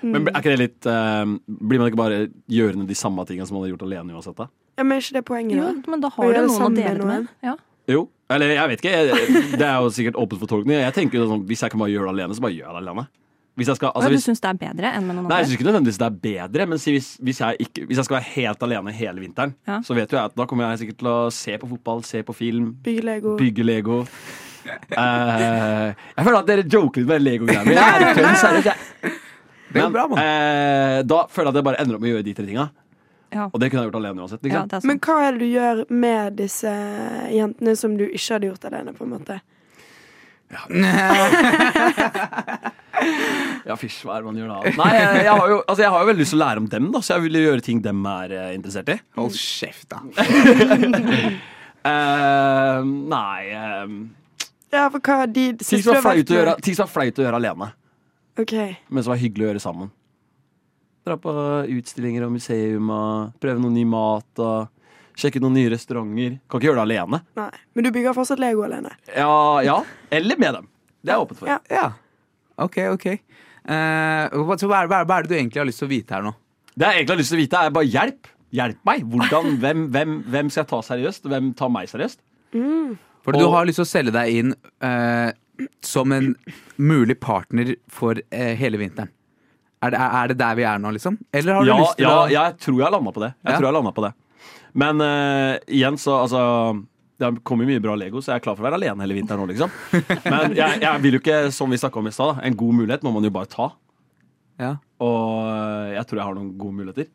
C: Mm.
B: Men er ikke det litt eh, Blir man ikke bare gjørende de samme tingene som man hadde gjort alene uansett? da?
E: Ja, men er ikke det poenget,
F: Jo,
E: da?
F: men da
E: Og
F: har
E: gjør
F: du
E: det
F: noen å
E: sammen med
F: dele det
E: noen.
F: med. Ja.
B: Jo. Eller jeg vet ikke. Jeg, det er jo sikkert åpent for tolkning. Jeg tenker jo sånn, Hvis jeg kan bare gjøre det alene, så bare gjør jeg det alene. Hvis jeg skal,
F: Altså,
B: altså,
F: du
B: hvis,
F: syns det er bedre enn med
B: nei,
F: noen
B: jeg
F: andre?
B: syns ikke nødvendigvis det er bedre, men si hvis, hvis, jeg ikke, hvis jeg skal være helt alene hele vinteren,
F: Ja.
B: så vet jo jeg at da kommer jeg sikkert til å se på fotball, se på film,
E: Bygge Lego.
B: bygge Lego. Eh, jeg føler at dere joker litt med Lego-greiene mine. Jeg er kødd, seriøst, jeg-
C: Det går bra, mann.
B: eh, da føler jeg at jeg bare ender opp med å gjøre de tre tinga.
F: Ja.
B: Og det kunne jeg gjort alene uansett. Ikke
F: Ja,
B: sant?
F: det er
E: Men
F: sant.
E: hva er det du gjør med disse jentene som du ikke hadde gjort alene, på en måte?
B: Ja, fysj, hva er det man gjør da? Nei, jeg, jeg, har jo, altså, jeg har jo veldig lyst til å lære om dem, da, så jeg vil jo gjøre ting dem er eh, interessert i.
C: Hold kjeft, da.
B: Eh, nei eh,
E: Ja, for hva de
B: ting,
E: siste
B: som
E: du
B: er
E: har
B: flaut
E: vært
B: å gjøre,
E: med?
B: ting som er flaut å gjøre alene,
E: Ok.
B: men som er hyggelig å gjøre sammen. Dra på utstillinger og museum og prøve noe ny mat og sjekke ut noen nye restauranter. Kan ikke gjøre det alene.
E: Nei. Men du bygger fortsatt Lego alene?
B: Ja, ja. Eller med dem. Det er jeg åpent for.
E: Ja.
C: Ja. Ok, ok. Eh, hva, så hva, er, hva, er, hva er det du egentlig har lyst til å vite her nå?
B: Det jeg egentlig har lyst til å vite, er bare hjelp. Hjelp meg. Hvordan, hvem, hvem, hvem skal jeg ta seriøst? Hvem tar meg seriøst?
C: For du
B: Og-
C: har lyst til å selge deg inn eh, som en mulig partner for eh, hele vinteren. Er det, er det der vi er nå, liksom? Eller har du
B: ja,
C: lyst til
B: ja,
C: å
B: ja, jeg tror jeg landa på det. Jeg
C: Ja.
B: tror jeg landet på det. Men eh, igjen, så altså det har kommet mye bra Lego, så jeg er klar for å være alene hele vinteren. nå, liksom. Men jeg, jeg vil jo ikke, som vi snakket om i stad, da, en god mulighet må man jo bare ta.
C: Ja.
B: Og eh, jeg tror jeg har noen gode muligheter.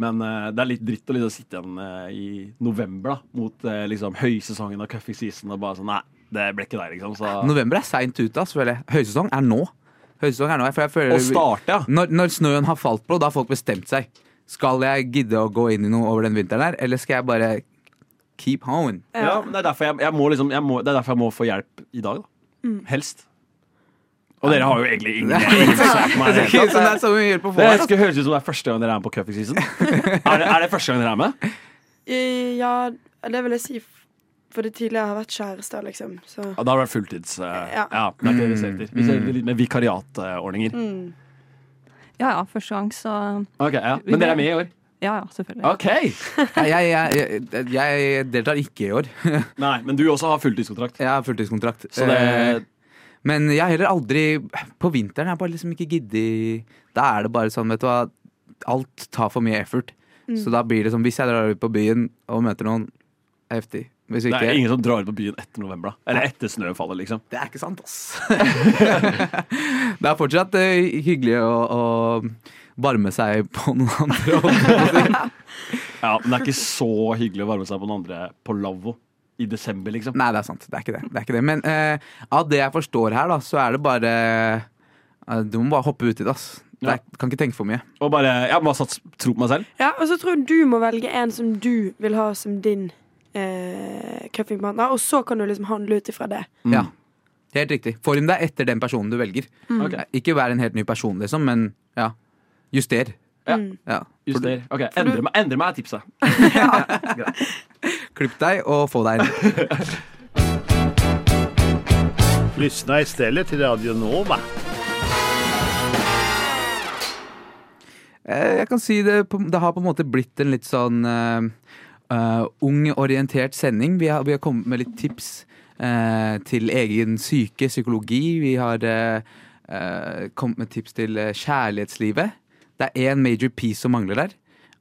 B: Men eh, det er litt dritt å liksom sitte igjen eh, i november da, mot eh, liksom, høysesongen av cuffing season og bare sånn Nei, det ble ikke deg, liksom. Så
C: November er seint ute, ass, føler jeg. Høysesong er nå. Høysesong er nå, for jeg føler...
B: å starte, ja.
C: Når, når snøen har falt på, da har folk bestemt seg. Skal jeg gidde å gå inn i noe over den vinteren her, eller skal jeg bare keep home?
B: ja men det, er derfor jeg, jeg må liksom, jeg må, det er derfor jeg må få hjelp i dag, da.
C: Mm.
B: Helst. Og dere har jo egentlig ingen
C: Det er ikke sånn det er så mye hjelp å få
B: Det
C: her, ass.
B: skal høres ut som det er første gang dere er med på Cuffing Season. Er det, er det første gang dere er med?
E: Eh, Ja, det vil jeg si. f- For det tidligere har vært kjærester, liksom. Så
B: Ja, da har det vært fulltids. eh,
E: Ja.
B: ja, det er ikke det vi ser etter. Vi ser litt med vikariatordninger.
C: Mm.
F: Ja ja, første gang, så
B: Ok, ja. Men dere er med i år?
F: Ja ja, selvfølgelig.
B: Ok!
C: Nei, Jeg, jeg, jeg, jeg deltar ikke i år.
B: Nei, men du også har fulltidskontrakt.
C: Jeg har fulltidskontrakt.
B: Så det
C: Eh, Men jeg har heller aldri På vinteren har jeg bare liksom ikke giddet Da er det bare sånn, vet du hva Alt tar for mye effort. Så da blir det sånn, hvis jeg drar ut på byen og møter noen, er heftig. Hvis
B: det
C: ikke
B: er ingen som drar ut på byen etter november, da. Eller etter snøfallet, liksom.
C: Det er ikke sant, ass. det er fortsatt eh, hyggelig å, å barme seg på noen andre.
B: Ja, Men det er ikke så hyggelig å varme seg på den andre på lavvo i desember, liksom.
C: Nei, det er sant. Det er ikke det. det, er ikke det. Men eh, av det jeg forstår her, da, så er det bare eh, Du må bare hoppe uti det, ass. Det er, kan ikke tenke for mye.
B: Og bare, Jeg må ha satt tro på meg selv.
E: Ja, og så tror jeg du må velge en som du vil ha som din eh, cuffingpartner, og så kan du liksom handle ut ifra det.
C: Ja. Helt riktig. Form deg etter den personen du velger. Eh,
B: Ok,
C: Ikke vær en helt ny person, liksom, men ja. Juster.
B: Ja.
C: Ja.
B: Juster. Ok, Endre meg, endre meg er tipset.
C: Klipp deg og få deg en.
I: Lyssna istället till Radio Nova.
C: Eh, Jeg kan si det, på- det har på en måte blitt en litt sånn eh, eh, ung, orientert sending. Vi har, vi har kommet med litt tips eh, til egen syke, psykologi. Vi har eh, eh, kommet med tips til eh, kjærlighetslivet. Det er én major piece som mangler der,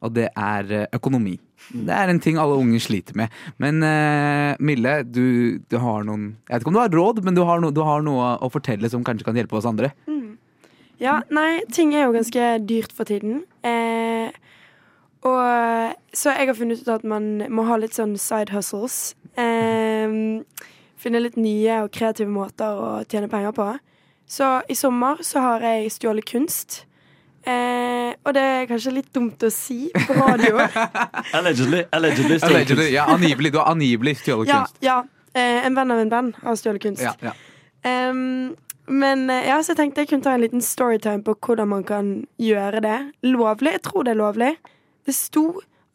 C: og det er eh, økonomi. Det er en ting alle unge sliter med. Men eh, Mille, du, du har noen Jeg vet ikke om du har råd, men du har, no, du har noe å fortelle som kanskje kan hjelpe oss andre.
E: Ja, nei, ting er jo ganske dyrt for tiden. Eh, og så jeg har funnet ut at man må ha litt sånn side hustles. Eh, finne litt nye og kreative måter å tjene penger på. Så i sommer så har jeg stjålet kunst. Eh, og det er kanskje litt dumt å si på radio.
B: Allegedly. Allegedly.
C: Allegedly. Ja, angivelig. Du har angivelig stjålet
E: ja,
C: kunst.
E: ja. Eh, en venn av en venn har stjålet kunst.
C: Ja, ja.
E: Ehm, Men eh, ja, så jeg tenkte jeg kunne ta en liten storytime på hvordan man kan gjøre det lovlig. Jeg tror det er lovlig. Det sto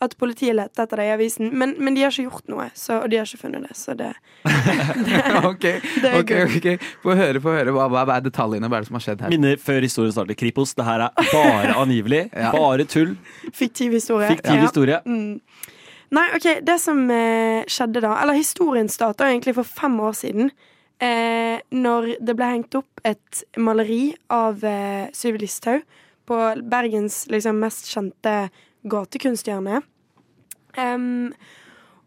E: at politiet lette etter det i avisen, men, men de har ikke gjort noe. Så, og de har ikke funnet det, så det
C: ok,
E: er
C: ok, ok. Få høre, få høre. Hva, hva er detaljene? Hva er det som har skjedd her?
B: Minner før historien starter. Kripos, det her er bare angivelig.
C: Ja.
B: Bare tull.
E: Fiktiv historie.
B: Fiktiv
E: Ja.
B: historie.
E: Mm. Nei, ok, det som eh, skjedde da Eller historien starta egentlig for fem år siden. Eh, når det ble hengt opp et maleri av eh, Syvi Listhaug på Bergens liksom, mest kjente gatekunsthjørne. Em,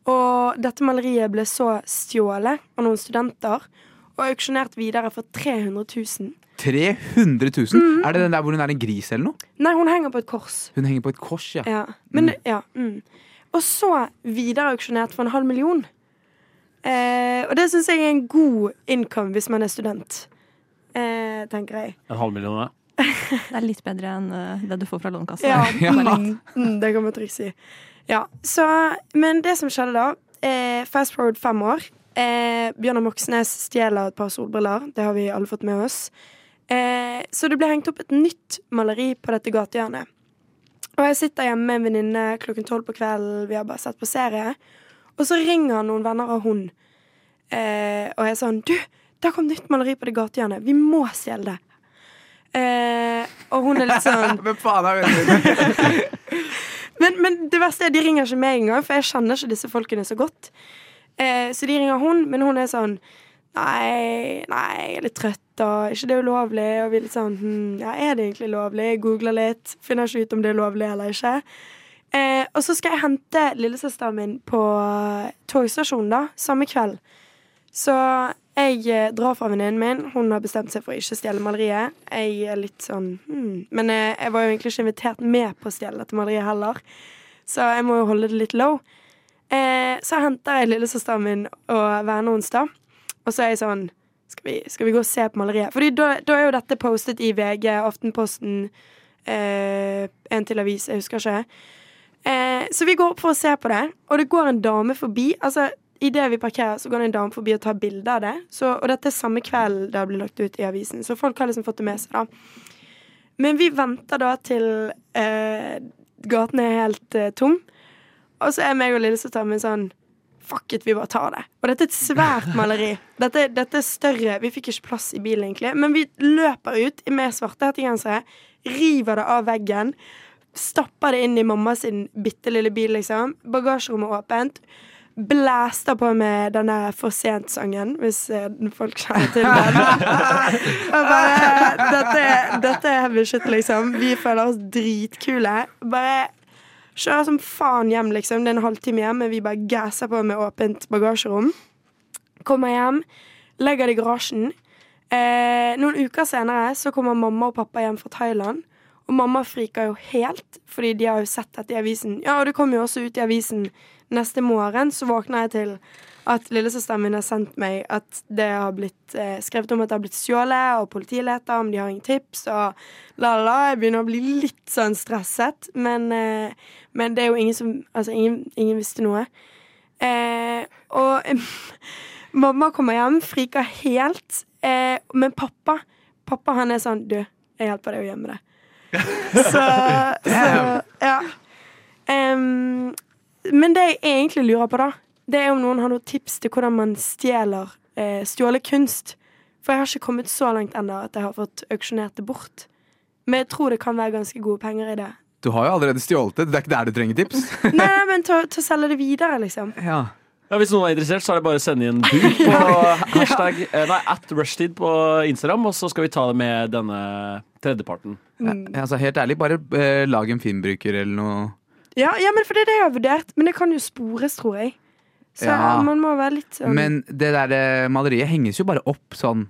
E: og dette maleriet ble så stjålet av noen studenter og auksjonert videre for 300 000.
C: 300 000? Er det den der hvor hun er en gris eller noe?
E: Nei, hun henger på et kors.
C: Hun henger på et kors, ja.
E: Ja. Men,
C: Mm.
E: ja mm. Og så videreauksjonert for en halv million. Eh, og det syns jeg er en god income hvis man er student, eh, tenker jeg.
B: En halv million, ja.
F: Det er litt bedre enn eh, det du får fra Lånekassa.
E: Ja,
C: Ja.
E: mm, mm, det kan man trygt si. Ja, så, men det som skjedde da eh, Fast forward fem år. Eh, Bjørnar Moxnes stjeler et par solbriller. Det har vi alle fått med oss. Eh, så det ble hengt opp et nytt maleri på dette gatehjørnet. Og jeg sitter hjemme med en venninne klokken tolv på kvelden. Vi har bare sett på serie. Og så ringer noen venner av hun. Eh, og jeg er sånn Du, der kom nytt maleri på det gatehjørnet. Vi må stjele det. Eh, og hun er litt sånn
C: Hvem faen er hun?
E: men, men det verste er de ringer ikke meg engang, for jeg kjenner ikke disse folkene så godt. Eh, så de ringer hun, men hun er sånn Nei, nei, jeg er litt trøtt, og ikke det er ulovlig? Og vi er litt sånn hm, Ja, er det egentlig lovlig? Jeg Googler litt, finner ikke ut om det er lovlig eller ikke. Eh, og så skal jeg hente lillesøsteren min på togstasjonen, da, samme kveld. Så jeg eh, drar fra venninnen min. Hun har bestemt seg for å ikke stjele maleriet. Jeg er litt sånn hmm. Men eh, jeg var jo egentlig ikke invitert med på å stjele dette maleriet heller, så jeg må jo holde det litt low. Eh, så henter jeg lillesøsteren min og vennene hennes, da. Og så er jeg sånn skal vi, skal vi gå og se på maleriet? Fordi da, da er jo dette postet i VG, Aftenposten, eh, en til avis, jeg husker ikke. Eh, så vi går opp for å se på det, og det går en dame forbi. Altså, Idet vi parkerer, så går det en dame forbi og tar bilde av det. Så, og dette er samme kveld det ble lagt ut i avisen, så folk har liksom fått det med seg, da. Men vi venter da til eh, gaten er helt eh, tom, og så er meg og lillesøsteren min sånn Fuck it, vi bare tar det. Og dette er et svært maleri. Dette, dette er større. Vi fikk ikke plass i bilen, egentlig. Men vi løper ut med svarte hettegensere, river det av veggen, stapper det inn i mamma sin bitte lille bil, liksom. Bagasjerommet er åpent. Blæster på med den der For sent-sangen, hvis eh, folk kjenner til den. Og bare dette, er- dette er heavy shit, liksom. Vi føler oss dritkule. Bare kjører som faen hjem, liksom. Det er en halvtime hjem, men vi bare gasser på med åpent bagasjerom. Kommer hjem, legger det i garasjen. Eh, noen uker senere så kommer mamma og pappa hjem fra Thailand. Og mamma friker jo helt, fordi de har jo sett dette i avisen. Ja, og det kom jo også ut i avisen neste morgen, så våkner jeg til at lillesøsteren min har sendt meg at det har blitt eh, skrevet om at det har blitt stjålet, og politiet leter om de har ingen tips, og la, la, la. Jeg begynner å bli litt sånn stresset, men, eh, men det er jo ingen som Altså, ingen, ingen visste noe. Eh, og mamma kommer hjem, friker helt, eh, men pappa Pappa han er sånn Du, jeg hjelper deg å gjemme det. Så, så ja. Em, men det jeg egentlig lurer på, da, det er om noen har noen tips til hvordan man stjeler eh, stjålet kunst. For jeg har ikke kommet så langt ennå at jeg har fått auksjonert det bort. Men jeg tror det kan være ganske gode penger i det.
C: Du har jo allerede stjålet det. Det er ikke der du trenger tips.
E: Nei, nei men til å- til å selge det videre, liksom.
C: Ja.
B: Ja, hvis noen er interessert, så er det bare å sende inn bud på hashtag eh, Nei, at rushtid på Instagram, og så skal vi ta det med denne tredjeparten.
C: Altså, helt ærlig, bare eh, lag en filmbruker eller noe.
E: Ja, ja, men for det er det jeg har vurdert. Men det kan jo spores, tror jeg. Så
C: Ja.
E: man må være litt sånn
C: Men det der eh, maleriet henges jo bare opp sånn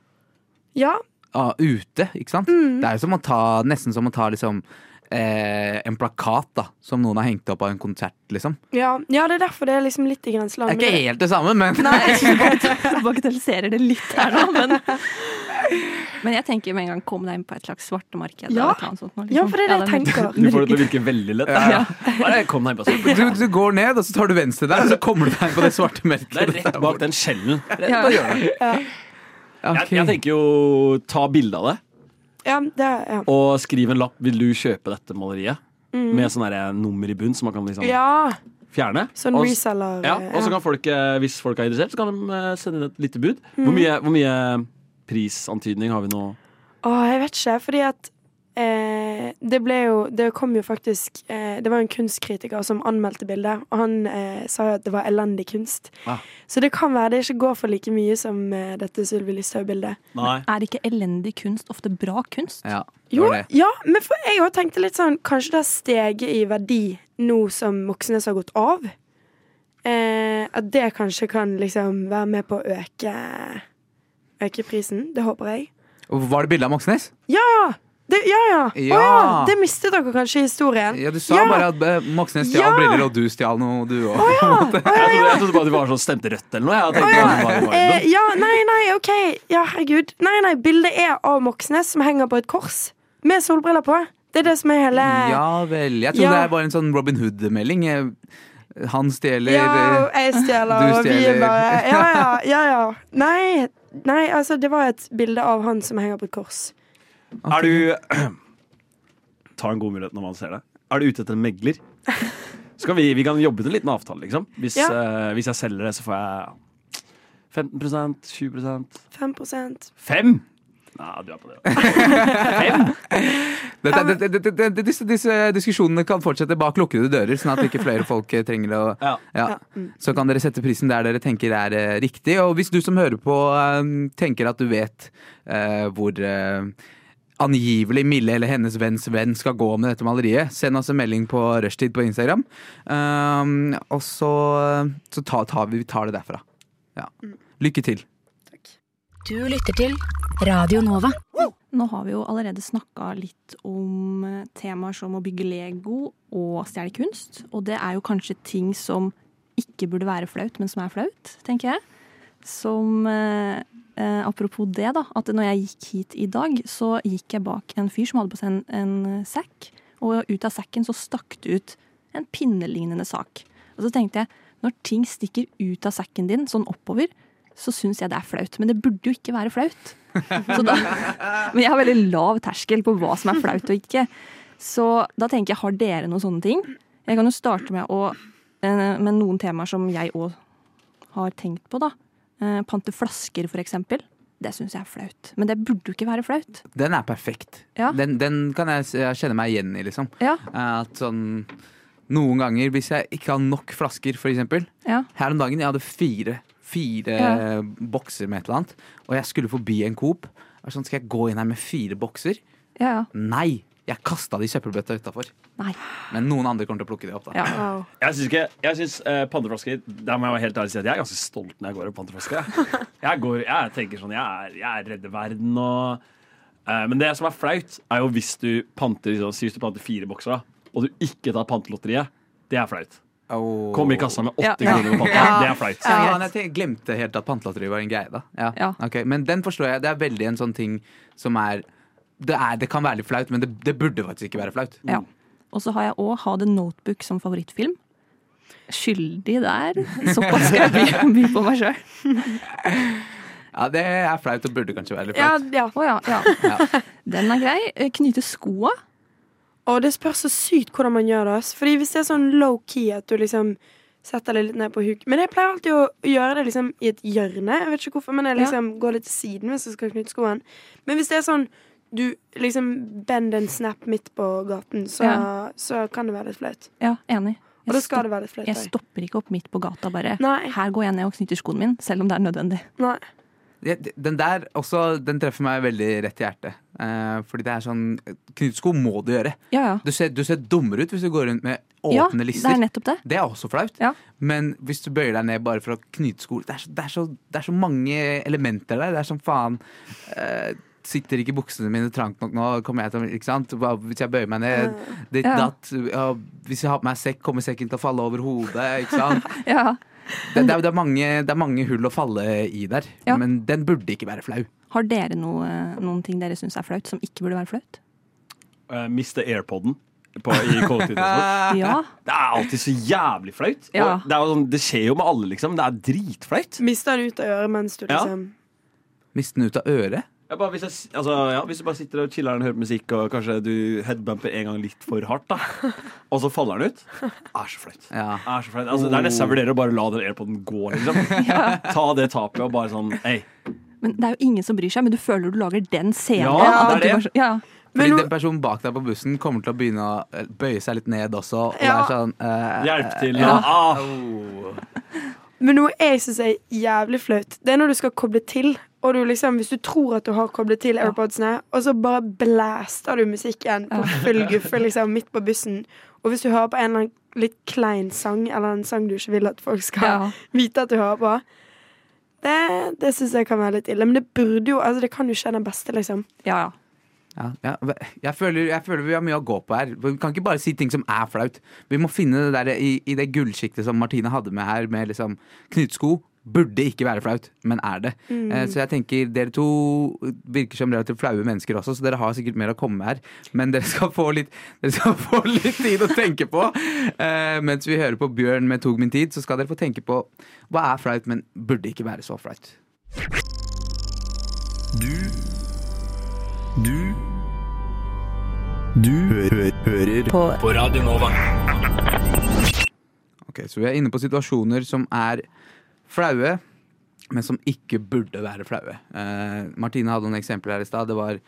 E: Ja,
C: ah, ute, ikke sant? Det er jo som å ta, nesten som å ta liksom eh, en plakat da, som noen har hengt opp av en konsert, liksom.
E: ja, ja, det er derfor det er liksom litt i grenseland.
C: Det er
E: men
C: ikke
E: det-
C: helt det samme, men
F: Nei, jeg bagate- bagatelliserer det litt her nå, men Men jeg tenker med en gang kom deg inn på et slags svartemarked.
E: Ja.
F: eller et eller annet sånt nå, liksom.
E: ja, for det er det jeg
F: Ja, det er-
E: tenker.
B: Du får det til å virke veldig lett.
C: Ja.
B: Bare kom deg inn på sånn.
C: du, du går ned, og så tar du venstre der, og så kommer du deg på det svarte
B: Det
C: merket.
B: er rett bak den skjellen.
F: Ja.
B: Rett bak hjørnet. Jeg, jeg tenker jo ta bilde av det,
E: Ja, det ja.
B: og skriv en lapp 'Vil du kjøpe dette maleriet?' Med sånn derre nummer i bunn som man kan liksom
E: Mm. ja.
B: fjerne.
E: Sånn
B: Og-
E: reseller
B: Ja,
E: eh,
B: og så kan folk, eh, Hvis folk er interessert, så kan de eh, sende inn et lite bud. Hvor
E: Mm.
B: mye, hvor mye eh, prisantydning har vi nå?
E: Åh, jeg vet ikke, fordi at eh, det ble jo Det kom jo faktisk eh, Det var en kunstkritiker som anmeldte bildet, og han eh, sa jo at det var elendig kunst.
B: Ah.
E: Så det kan være det ikke går for like mye som eh, dette Sylvi Listhaug-bildet.
B: Nei.
F: Er ikke elendig kunst ofte bra kunst?
C: Ja, det
E: Jo,
C: var det.
E: ja, men for jeg òg tenkte litt sånn Kanskje det har steget i verdi nå som Moxnes har gått av? Eh, at det kanskje kan liksom være med på å øke Øke prisen. Det håper jeg.
C: Og Var det bilde av Moxnes?
E: Ja! Det, ja, ja. Å
C: Ja.
E: ja! Det mistet dere kanskje i historien.
C: Ja, du sa
E: Ja.
C: bare at eh, Moxnes stjal
E: Ja.
C: briller, og du stjal noe, du òg.
B: Jeg trodde, jeg trodde bare de var sånn stemte rødt eller noe. Jeg tenkte bare det var i varmen.
E: Eh, ja, nei, nei, OK. Ja, herregud. Nei, nei, bildet er av Moxnes som henger på et kors med solbriller på. Det er det som er hele
C: Ja vel. Jeg trodde
E: Ja.
C: det var en sånn Robin Hood-melding. Eh, Han stjeler
E: Ja,
C: eh,
E: og jeg stjeler,
C: Du
E: og vi
C: stjeler.
E: er bare Ja, ja, ja. ja. Nei, nei, altså, det var et bilde av han som henger på et kors.
B: Er du Ta en god mulighet når man ser det. Er du ute etter en megler? Så kan vi, vi kan jobbe til en liten avtale, liksom. Hvis,
E: Ja.
B: eh, hvis jeg selger det, så får jeg 15 20
E: 5
B: 5 Nei, du er på det. da.
C: Dette- dette- dette- dette- disse, disse diskusjonene kan fortsette bak lukkede dører, sånn at ikke flere folk eh, trenger å
B: Ja.
C: Ja. Så kan dere sette prisen der dere tenker er eh, riktig. Og hvis du som hører på eh, tenker at du vet eh, hvor eh, angivelig Mille eller hennes venns venn skal gå med dette maleriet, send oss en melding på rushtid på Instagram. Um, og så, så ta, tar vi, vi tar det derfra. Ja. Lykke til.
J: Du lytter til Radio Nova.
F: Nå har vi jo allerede snakka litt om eh, temaer som å bygge Lego og stjele kunst. Og det er jo kanskje ting som ikke burde være flaut, men som er flaut, tenker jeg. Som eh, eh, Apropos det, da. At når jeg gikk hit i dag, så gikk jeg bak en fyr som hadde på seg en, en eh, sekk. Og ut av sekken så stakk det ut en pinnelignende sak. Og så tenkte jeg, når ting stikker ut av sekken din sånn oppover, så syns jeg det er flaut. Men det burde jo ikke være flaut. Så da, men jeg har veldig lav terskel på hva som er flaut og ikke. Så da tenker jeg, har dere noen sånne ting? Jeg kan jo starte med, å, eh, med noen temaer som jeg òg har tenkt på, da. Eh, Pante flasker, for eksempel. Det syns jeg er flaut. Men det burde jo ikke være flaut.
C: Den er perfekt.
F: Ja.
C: Den, den kan jeg, s- jeg kjenne meg igjen i, liksom.
F: Ja,
C: At sånn Noen ganger, hvis jeg ikke har nok flasker, for eksempel,
F: ja.
C: Her om dagen jeg hadde fire, fire
F: Ja.
C: bokser med et eller annet, og jeg skulle forbi en Coop. Jeg var Sånn, skal jeg gå inn her med fire bokser?
F: ja, ja.
C: Nei! Jeg kasta de i søppelbøtta utafor.
F: Nei.
C: Men noen andre kommer til å plukke de opp. da
F: Ja.
E: Wow.
B: Jeg syns ikke Jeg syns eh, panteflasker Der må jeg være helt ærlig og si at jeg er ganske stolt når jeg går i panteflasker. Jeg, jeg, går, jeg tenker sånn Jeg er, jeg er redde verden og eh, Men det som er flaut, er jo hvis du panter liksom, si hvis du panter fire bokser, da, og du ikke tar pantelotteriet. Det er flaut.
C: Åh.
B: Kom i kassa med åtte
F: Ja.
B: kroner på panten.
F: Ja.
B: Det er flaut.
C: Ja, men jeg tenk- glemte helt at pantelotteri var en greie, da. Ja.
F: Ja.
C: ok. Men den forstår jeg. Det er veldig en sånn ting som er Det, er, det kan være litt flaut, men det, det burde faktisk ikke være flaut.
F: ja. Og så har jeg òg Ha the Notebook som favorittfilm. Skyldig der. Såpass skal jeg by, by på meg sjøl.
C: Ja, Det er flaut og burde kanskje være litt
E: Ja,
C: flaut.
E: ja.
F: Å ja, ja. Den er grei. Eh, Knyte skoa.
E: Og det spørs så sykt hvordan man gjør det. ass. Fordi hvis det er sånn low-key at du liksom setter deg litt ned på huk Men jeg pleier alltid å gjøre det liksom i et hjørne. Jeg vet ikke hvorfor, men jeg
F: Ja.
E: liksom går litt til siden hvis jeg skal knytte skoen. Men hvis det er sånn du liksom bend en snap midt på gaten, så,
F: Ja.
E: så kan det være litt flaut.
F: Ja, enig.
E: Og da skal det være litt flaut.
F: Jeg stopper ikke opp midt på gata bare.
E: Nei.
F: Her går jeg ned og knytter skoen min, selv om det er nødvendig.
E: Nei.
C: Ja, d- Den der også, den treffer meg veldig rett i hjertet. Eh, fordi det er sånn Knutsko må du gjøre.
F: Ja, ja.
C: Du ser, du ser dummere ut hvis du går rundt med
F: ja,
C: åpne
F: det
C: lister.
F: er nettopp det.
C: Det er også flaut.
F: Ja.
C: Men hvis du bøyer deg ned bare for å knyte sko det, er så- det, er så- det er så mange elementer der. Det er som faen eh, Sitter ikke buksene mine trangt nok nå? Kommer jeg til å- ikke sant? Hva, hvis jeg bøyer meg ned dit,
F: Ja.
C: datt, ja, Hvis jeg har på meg sekk, kommer sekken til å falle over hodet? Ikke sant?
F: Ja.
C: Det, det, er, det, er mange, det er mange hull å falle i der.
F: Ja.
C: Men den burde ikke være flau.
F: Har dere noe, noen ting dere syns er flaut, som ikke burde være flaut?
B: Eh, miste airpoden på, i kollektivtransport.
F: Ja.
B: Det er alltid så jævlig flaut. Og
F: Ja.
B: Det, er jo sånn, det skjer jo med alle, liksom. Det er dritflaut.
E: Mister den ut av øret mens du
B: Ja.
E: liksom
C: Miste den ut av øret?
B: Ja, bare hvis, jeg, s- altså, ja, hvis du bare sitter og chiller og hører musikk, og kanskje du headbumper en gang litt for hardt, da. og så faller den ut. Er så flaut.
C: Ja.
B: Er så flaut. Altså, det er nesten jeg vurderer å bare la den airpoden gå, liksom. Ta det tapet og bare sånn Hei.
F: Men det er jo ingen som bryr seg, men du føler du lager den scenen.
B: Ja,
F: at
B: det er
F: du bare- Ja.
C: Fordi
E: Men nå-
C: den personen bak deg på bussen kommer til å begynne å eh, bøye seg litt ned også. Og
E: Ja.
C: er sånn eh,
B: Hjelp til.
C: Ja.
B: Ah.
E: Men noe jeg syns er jævlig flaut, det er når du skal koble til. Og du liksom, Hvis du tror at du har koblet til AirPodsene, og så bare blaster du musikken på full guffe liksom, midt på bussen. Og hvis du hører på en eller annen litt klein sang, eller en sang du ikke vil at folk skal
F: Ja.
E: vite at du hører på, det, det syns jeg kan være litt ille. Men det burde jo, altså det kan jo skje den beste, liksom.
F: Ja, ja.
C: Ja, ja. Jeg, føler, jeg føler vi har mye å gå på her. Vi kan ikke bare si ting som er flaut. Vi må finne det der i, i det gullsjiktet som Martine hadde med her, med liksom knyttsko. Burde ikke være flaut, men er det. Eh, Så jeg tenker dere to virker som relativt flaue mennesker også, så dere har sikkert mer å komme med her. Men dere skal få litt, dere skal få litt tid å tenke på. Eh, mens vi hører på Bjørn med 'Tog min tid', så skal dere få tenke på hva er flaut, men burde ikke være så flaut. Ok, Så vi er inne på situasjoner som er flaue, men som ikke burde være flaue. Eh, Martine hadde noen eksempler her i stad. Det var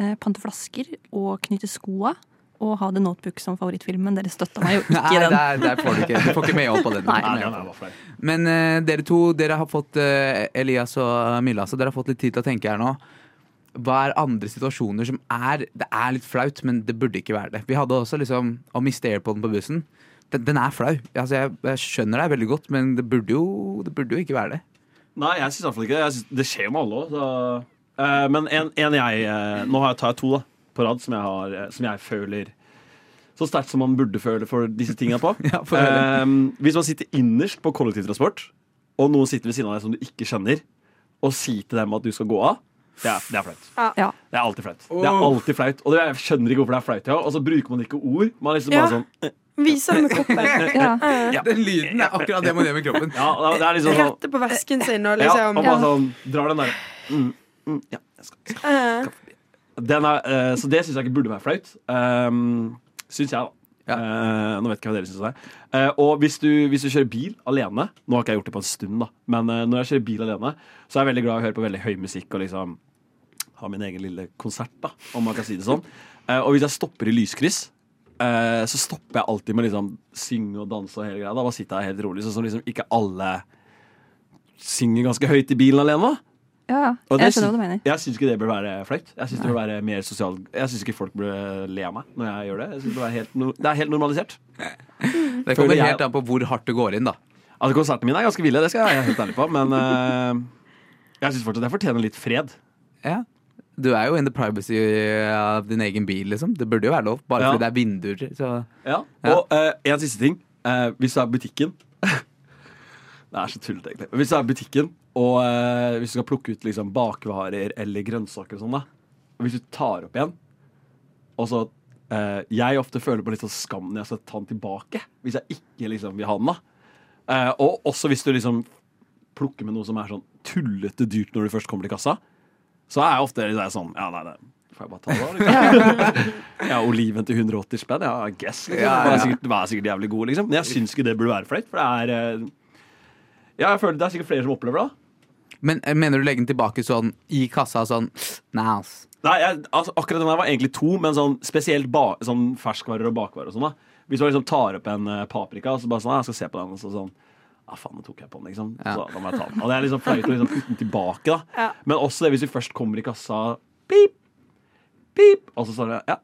F: Eh, Pante flasker og knytte skoa. Og ha The Notebook som favorittfilm, men dere støtta meg jo ikke i
C: Nei,
F: den.
C: der, der får du ikke Du får ikke medhold på den.
F: Nei.
C: Ikke
B: Nei,
C: medhold på
B: den er bare flau.
C: den. Men eh, dere to, dere har fått eh, Elias og Milla, så dere har fått litt tid til å tenke her nå. Hva er andre situasjoner som er Det er litt flaut, men det burde ikke være det. Vi hadde også liksom å miste airpoden på bussen. Den, den er flau. Altså, jeg, jeg skjønner deg veldig godt, men det burde jo, det burde jo ikke være det.
B: Nei, jeg syns iallfall ikke det. Jeg synes, det skjer jo med alle òg. men en, en jeg eh, Nå har jeg, tar jeg to da, på rad som jeg, har, eh, som jeg føler så sterkt som man burde føle for disse tinga på.
C: Ja, få høre.
B: Eh, hvis man sitter innerst på kollektivtransport, og noen sitter ved siden av deg som du ikke kjenner, og sier til dem at du skal gå av, det er, det er flaut.
F: Ja.
B: Det er alltid flaut. Det er alltid flaut Og det- jeg skjønner ikke hvorfor det er flaut. Ja. Og så bruker man ikke ord. Man er liksom
E: Ja.
B: bare sånn
E: Vise det med koppen.
F: Ja.
B: Ja.
C: Den lyden er akkurat det man gjør med kroppen.
B: ja, det er liksom sånn
E: Rette på vesken sin og
B: ja, og
E: liksom
B: bare sånn, drar den der mm, mm, ja, jeg skal, jeg
E: eh,
B: skal. Den er, eh, Så det syns jeg ikke burde være flaut. Um, syns jeg, da. Eh, nå vet ikke jeg hva dere syns om det. Eh, og hvis du, hvis du kjører bil alene Nå har ikke jeg gjort det på en stund, da men eh, når jeg kjører bil alene, så er jeg veldig glad i å høre på veldig høy musikk og liksom ha min egen lille konsert, da om man kan si det sånn. Eh, og hvis jeg stopper i lyskryss, eh, så stopper jeg alltid med liksom synge og danse og hele greia. Da bare sitter jeg helt rolig, sånn som liksom ikke alle synger ganske høyt i bilen alene. da
F: ja, ja.
B: og det
F: Jeg skjønner
B: sy-
F: hva du mener.
B: Jeg syns ikke det bør være flaut. Jeg syns det bør være mer sosial Jeg syns ikke folk bør eh, le av meg når jeg gjør det. Jeg synes det, bør være helt no det er helt normalisert.
C: Det kommer
B: Føler jeg-
C: helt an på hvor hardt det går inn, da.
B: Altså Konsertene mine er ganske ville, det skal jeg være helt ærlig på, men eh, jeg syns fortsatt jeg fortjener litt fred.
C: Ja. Du er jo in the privacy av din egen bil, liksom. Det burde jo være lov, bare
B: Ja.
C: fordi det er vinduer. Så.
B: Ja.
C: Ja.
B: Og eh, en siste ting. Eh, hvis du er i butikken Det er så tullete, egentlig. Hvis du er i butikken, og eh, hvis du skal plukke ut liksom, bakvarer eller grønnsaker og sånn, da. Og Hvis du tar opp igjen Og så eh, Jeg ofte føler på litt sånn skam når jeg skal ta den tilbake. Hvis jeg ikke liksom, vil ha den, da. Eh, og også hvis du liksom plukker med noe som er sånn tullete dyrt når du først kommer til kassa. Så er jeg ofte litt sånn Ja, nei, det får jeg bare ta det, da. Liksom. Ja, oliven til 180 spenn, ja, I guess. Liksom.
C: Ja, ja, ja.
B: Den er sikkert, den er sikkert jævlig god, liksom. Men jeg syns ikke det burde være flaut, for det er eh, Ja, jeg føler det er sikkert flere som opplever det. da.
C: Men eh, mener du legge den tilbake sånn i kassa sånn Nei, ass.
B: Nei, jeg, altså, akkurat den her var egentlig to, men sånn, spesielt ba, sånn ferskvarer og bakvarer og sånn. da Hvis man liksom tar opp en eh, paprika og så bare sånn, «Nei, jeg skal se på den, og så sånn Ja, faen, nå tok jeg på den, liksom.
C: Ja.
B: Så da må jeg ta den. Og det er liksom flaut å liksom putte den tilbake, da.
E: Ja.
B: Men også det hvis du først kommer i kassa, pip, pip, og så står det ja,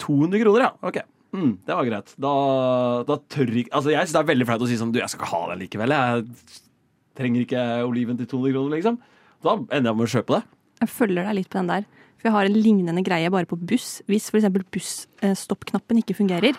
B: 200 kroner, ja. Ok. Mm, det var greit. Da, da tør ikke Altså, jeg syns det er veldig flaut å si sånn Du, jeg skal ikke ha den likevel. Jeg trenger ikke oliven til 200 kroner, liksom. Da ender jeg med å kjøpe det.
F: Jeg følger deg litt på den der. For jeg har en lignende greie bare på buss. Hvis f.eks. busstoppknappen ikke fungerer,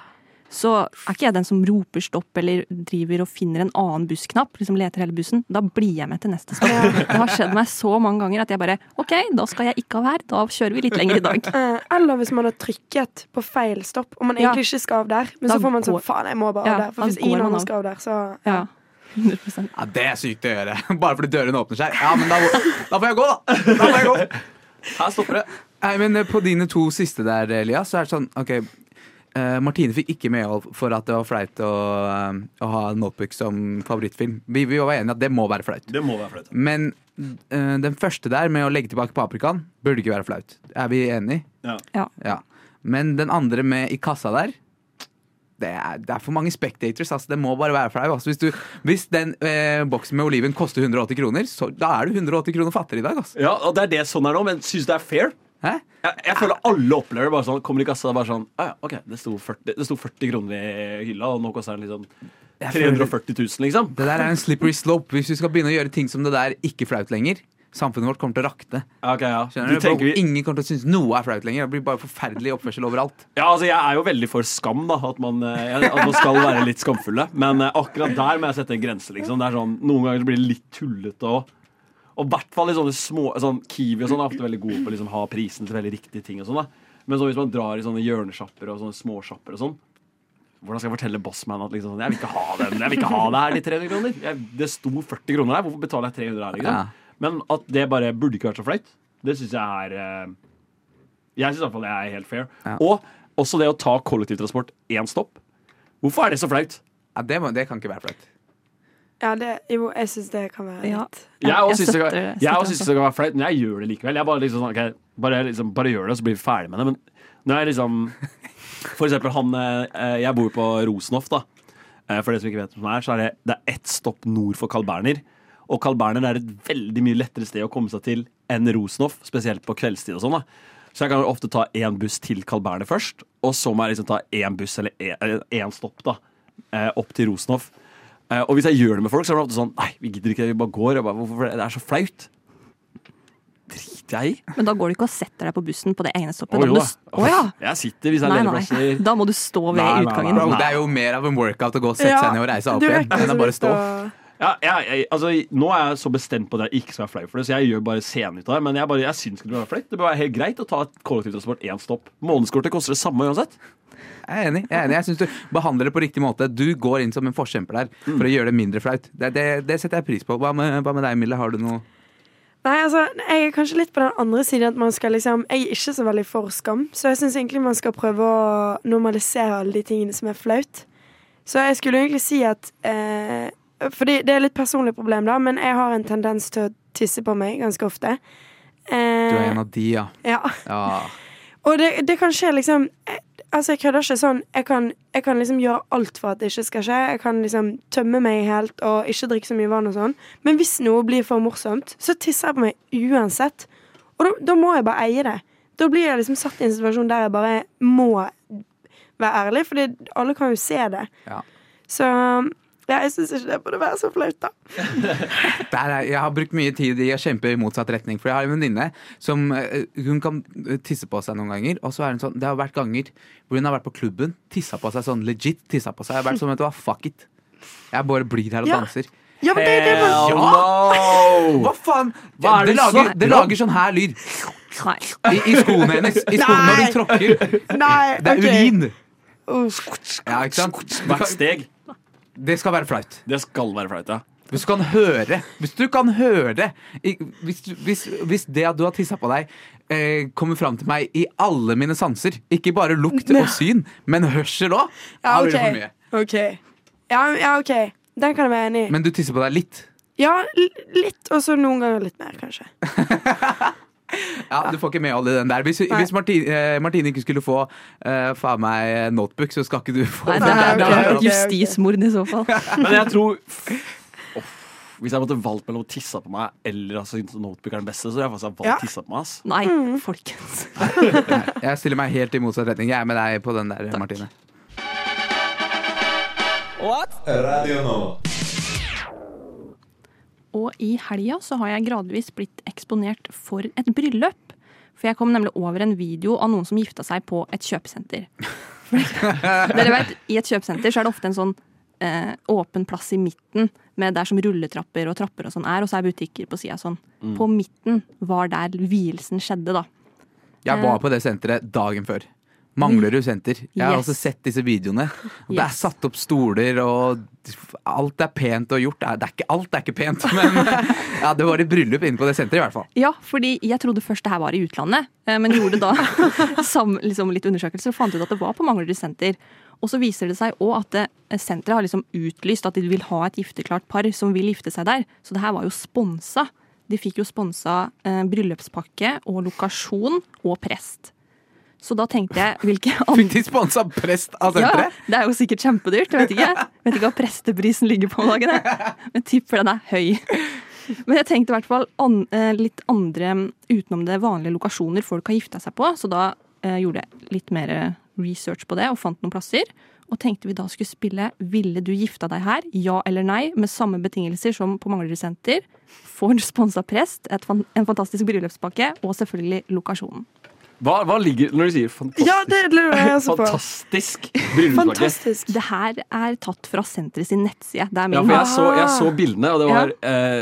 F: så er ikke jeg den som roper stopp eller driver og finner en annen bussknapp. liksom leter hele bussen. Da blir jeg med til neste stopp. Det har skjedd meg så mange ganger at jeg bare OK, da skal jeg ikke av her. Da kjører vi litt lenger i dag.
E: Eh, Eller hvis man har trykket på feil stopp, og man
F: Ja.
E: egentlig ikke skal av der. Men
F: Da
E: så får man sånn
F: går-
E: faen, jeg må bare
F: Ja,
E: av der. For
F: da
E: hvis
F: går
E: ingen
F: man
E: andre
F: av.
E: skal av der, så
F: Ja.
C: Ja, det er sykt å gjøre. Bare fordi dørene åpner seg. Ja, men da, da får jeg gå, da. da får jeg gå.
B: Her stopper det.
C: Nei, men eh, på dine to siste der, Elias, så er det sånn OK. eh, Martine fikk ikke medhold for at det var flaut å, eh, å ha Notebook som favorittfilm. Vi, vi var enige at det må være flaut.
B: Det må være flaut.
C: Men eh, den første der, med å legge tilbake paprikaen, burde ikke være flaut. Er vi enige?
B: Ja.
F: Ja.
C: Ja. Men den andre med i kassa der det er, det er for mange spectators. Altså. Det må bare være flau. Altså. Hvis, du- hvis den eh, boksen med oliven koster 180 kroner, så da er du 180 kroner fattigere i dag. Altså.
B: Ja, og det er det sånn er nå, men syns det er fair?
C: Hæ?
B: Jeg, jeg føler alle opplever det bare sånn. Kommer i kassa og bare sånn ah, ja, OK, det sto, 40, det sto 40 kroner i hylla, og nå koster den liksom
C: Jeg føler-
B: 340 000, liksom.
C: Det der er en slippery slope. Hvis vi skal begynne å gjøre ting som det der ikke flaut lenger, samfunnet vårt kommer til å rakne.
B: Ok, ja.
C: Skjønner
B: Du
C: du? Folk-
B: tenker vi,
C: Ingen kommer til å synes noe er flaut lenger. Det blir bare forferdelig oppførsel overalt.
B: ja, altså, jeg er jo veldig for skam, da. At man, eh, at man skal være litt skamfulle. Men eh, akkurat der må jeg sette en grense, liksom. Det er sånn, noen ganger så blir det litt tullete òg. Og i hvert fall i sånne små sånn, Kiwi og sånn er ofte veldig gode på å liksom, ha prisen til veldig riktige ting. og sånn da Men så hvis man drar i sånne hjørnesjapper og sånne småsjapper og sånn Hvordan skal jeg fortelle bossman at liksom, sånn, jeg vil ikke ha dem, jeg vil ikke ha det her, de 300 kroner? Jeg, det sto 40 kroner her, hvorfor betaler jeg 300 her? Liksom?
C: Ja.
B: Men at det bare burde ikke vært så flaut, det syns jeg er eh, Jeg syns iallfall det er helt fair.
C: Ja.
B: Og også det å ta kollektivtransport én stopp. Hvorfor er det så flaut?
C: Ja, det, må, det kan ikke være flaut.
E: Ja, det, jo, jeg syns det kan være
F: Ja.
E: litt
B: Jeg
F: Jeg
B: også syns det
F: støtter-
B: kan- jeg også
F: støtter
B: syns det kan være flaut, men jeg gjør det likevel. Jeg bare, liksom, sånn, ok, bare, liksom, bare gjør det, så blir vi ferdig med det. Men når jeg liksom For eksempel han eh, Jeg bor jo på Rosenhoff, da. Eh, For de som ikke vet hvem det er, så er det, det er ett stopp nord for Carl Berner. Og Carl Berner er et veldig mye lettere sted å komme seg til enn Rosenhoff, spesielt på kveldstid og sånn. da så jeg kan ofte ta én buss til Carl Berner først, og så må jeg liksom ta én buss eller én stopp da, eh, opp til Rosenhoff. Eh, Og hvis jeg gjør det med folk, så er det ofte sånn Nei, vi gidder ikke, vi bare går. Jeg bare, Hvorfor det? Det er så flaut. Driter jeg i.
F: Men da går du ikke og setter deg på bussen på det ene stoppet.
B: Å,
F: da
B: jo
F: må
B: da.
F: du, s- å ja!
B: Jeg sitter hvis det er
F: Nei,
B: ledige
F: nei.
B: plasser.
F: Da må du stå ved
B: Nei, nei, nei.
F: utgangen.
C: Bro, det er jo mer av en workout å gå og sette seg ned og reise
E: du
C: opp
E: er
C: igjen
E: ikke
C: enn
E: så
C: å bare
E: lyst
C: stå.
E: å-
B: Ja, jeg, jeg, altså, nå er jeg så bestemt på at jeg ikke skal være flau for det, så jeg gjør bare scenen ut av det. Men jeg, bare, jeg syns ikke det bør være flaut. Det bør være helt greit å ta et kollektivtransport én stopp. Månedskortet koster det samme uansett.
C: Jeg er enig. jeg er enig. Jeg synes du behandler det på riktig måte. Du går inn som en forkjemper der for å gjøre det mindre flaut. Det, det, det setter jeg pris på. Hva med, hva med deg, Mille? Har du noe
E: Nei, altså, jeg er kanskje litt på den andre siden at man skal liksom Jeg er ikke så veldig for skam, så jeg syns egentlig man skal prøve å normalisere alle de tingene som er flaut. Så jeg skulle egentlig si at eh, Fordi det er litt personlig problem, da, men jeg har en tendens til å tisse på meg ganske ofte. Eh,
C: Du er en av de, ja.
E: Ja.
C: ja.
E: Og det, det kan skje liksom eh, Altså, jeg kødder ikke sånn. Jeg kan, jeg kan liksom gjøre alt for at det ikke skal skje. Jeg kan liksom tømme meg helt og ikke drikke så mye vann og sånn. Men hvis noe blir for morsomt, så tisser jeg på meg uansett. Og da, da må jeg bare eie det. Da blir jeg liksom satt i en situasjon der jeg bare må være ærlig, Fordi alle kan jo se det.
C: Ja.
E: Så ja, jeg syns ikke det burde være så flaut, da.
C: Der er, jeg har brukt mye tid i å kjempe i motsatt retning. For jeg har en venninne som eh, Hun kan eh, tisse på seg noen ganger. Og så er hun sånn, det har vært ganger hvor hun har vært på klubben, tissa på seg sånn legit. tissa på seg Jeg har vært sånn, vet du hva, fuck it. Jeg bare blir her og
E: Ja.
C: danser.
E: Ja, men det er det man
C: Ja! Hva faen? Det,
B: Hva
C: det,
B: er det du
C: lager,
B: snakker
C: det
B: om?
C: lager sånn her lyd
F: Nei.
C: i, i skoene hennes. I skoene når hun tråkker.
E: Nei,
C: Det er
E: ok.
C: urin.
E: Uff.
C: Ja, ikke sant? Du
B: Hvert
C: kan,
B: steg.
C: det skal være flaut.
B: Det skal være flaut, ja.
C: Hvis du kan høre Hvis du kan høre i- Hvis, du- hvis, hvis det at du har tissa på deg, eh, kommer fram til meg i alle mine sanser, ikke bare lukt og syn, men hørsel òg,
E: Ja,
C: da blir det for
E: OK.
C: mye.
E: Ok. Ja, ja, OK. Den kan jeg være enig i.
C: Men du tisser på deg litt.
E: Ja, l- litt, og så noen ganger litt mer, kanskje.
C: Ja, Du får ikke med all den der. Hvis,
E: Nei.
C: hvis Martine, eh, Martine ikke skulle få eh, faen meg notebook, så skal ikke du få
F: Nei,
C: den
F: det
C: der.
F: er, det
E: ok,
F: er
E: ok.
F: et justismord i så fall.
B: Men jeg tror Uff, Hvis jeg måtte valgt mellom å tisse på meg eller altså, synes notebook er den beste, så hadde jeg faktisk valgt
E: Ja.
B: tisse på meg. Ass.
F: Nei, folkens.
C: Jeg stiller meg helt i motsatt retning. Jeg er med deg på den der, Martine.
F: Og i helga så har jeg gradvis blitt eksponert for et bryllup. For jeg kom nemlig over en video av noen som gifta seg på et kjøpesenter. For dere vet, I et kjøpesenter så er det ofte en sånn eh, åpen plass i midten, med der som rulletrapper og trapper og sånn er, og så er butikker på sida sånn. På midten var der vielsen skjedde, da.
C: Jeg var på det senteret dagen før. Manglerud senter. Jeg har
F: Mm. Yes.
C: også sett disse videoene. Og Det er
F: Yes.
C: satt opp stoler, og alt er pent og gjort. Det er ikke, alt er ikke pent, men ja, det var et bryllup inne på det senteret i hvert fall.
F: Ja, fordi jeg trodde først det her var i utlandet, eh, men gjorde da sam, liksom litt undersøkelser og fant ut at det var på Manglerud senter. Og så viser det seg òg at eh, senteret har liksom utlyst at de vil ha et gifteklart par som vil gifte seg der. Så det her var jo sponsa. De fikk jo sponsa eh, bryllupspakke og lokasjon og prest. Så da tenkte jeg hvilke andre
C: Fikk de sponsa prest av
F: ja,
C: senteret?
F: det er jo sikkert kjempedyrt. Jeg vet ikke Vet ikke hva presteprisen ligger på om dagen, jeg. men tipper den er høy. Men jeg tenkte i hvert fall an, eh, litt andre mm, utenom det vanlige lokasjoner folk har gifta seg på, så da eh, gjorde jeg litt mer eh, research på det og fant noen plasser. Og tenkte vi da skulle spille 'Ville du gifta deg her?' ja eller nei, med samme betingelser som på Manglerud senter. Får sponsa prest, et, fan- en fantastisk bryllupspakke og selvfølgelig lokasjonen.
B: Hva, hva ligger Når du sier fantastisk
F: Ja, det lurer jeg også på.
B: Fantastisk bryllupspakke.
F: Det her er tatt fra senteret sin nettside. Det er min.
B: Ja, for jeg så, jeg så bildene, og det var eh,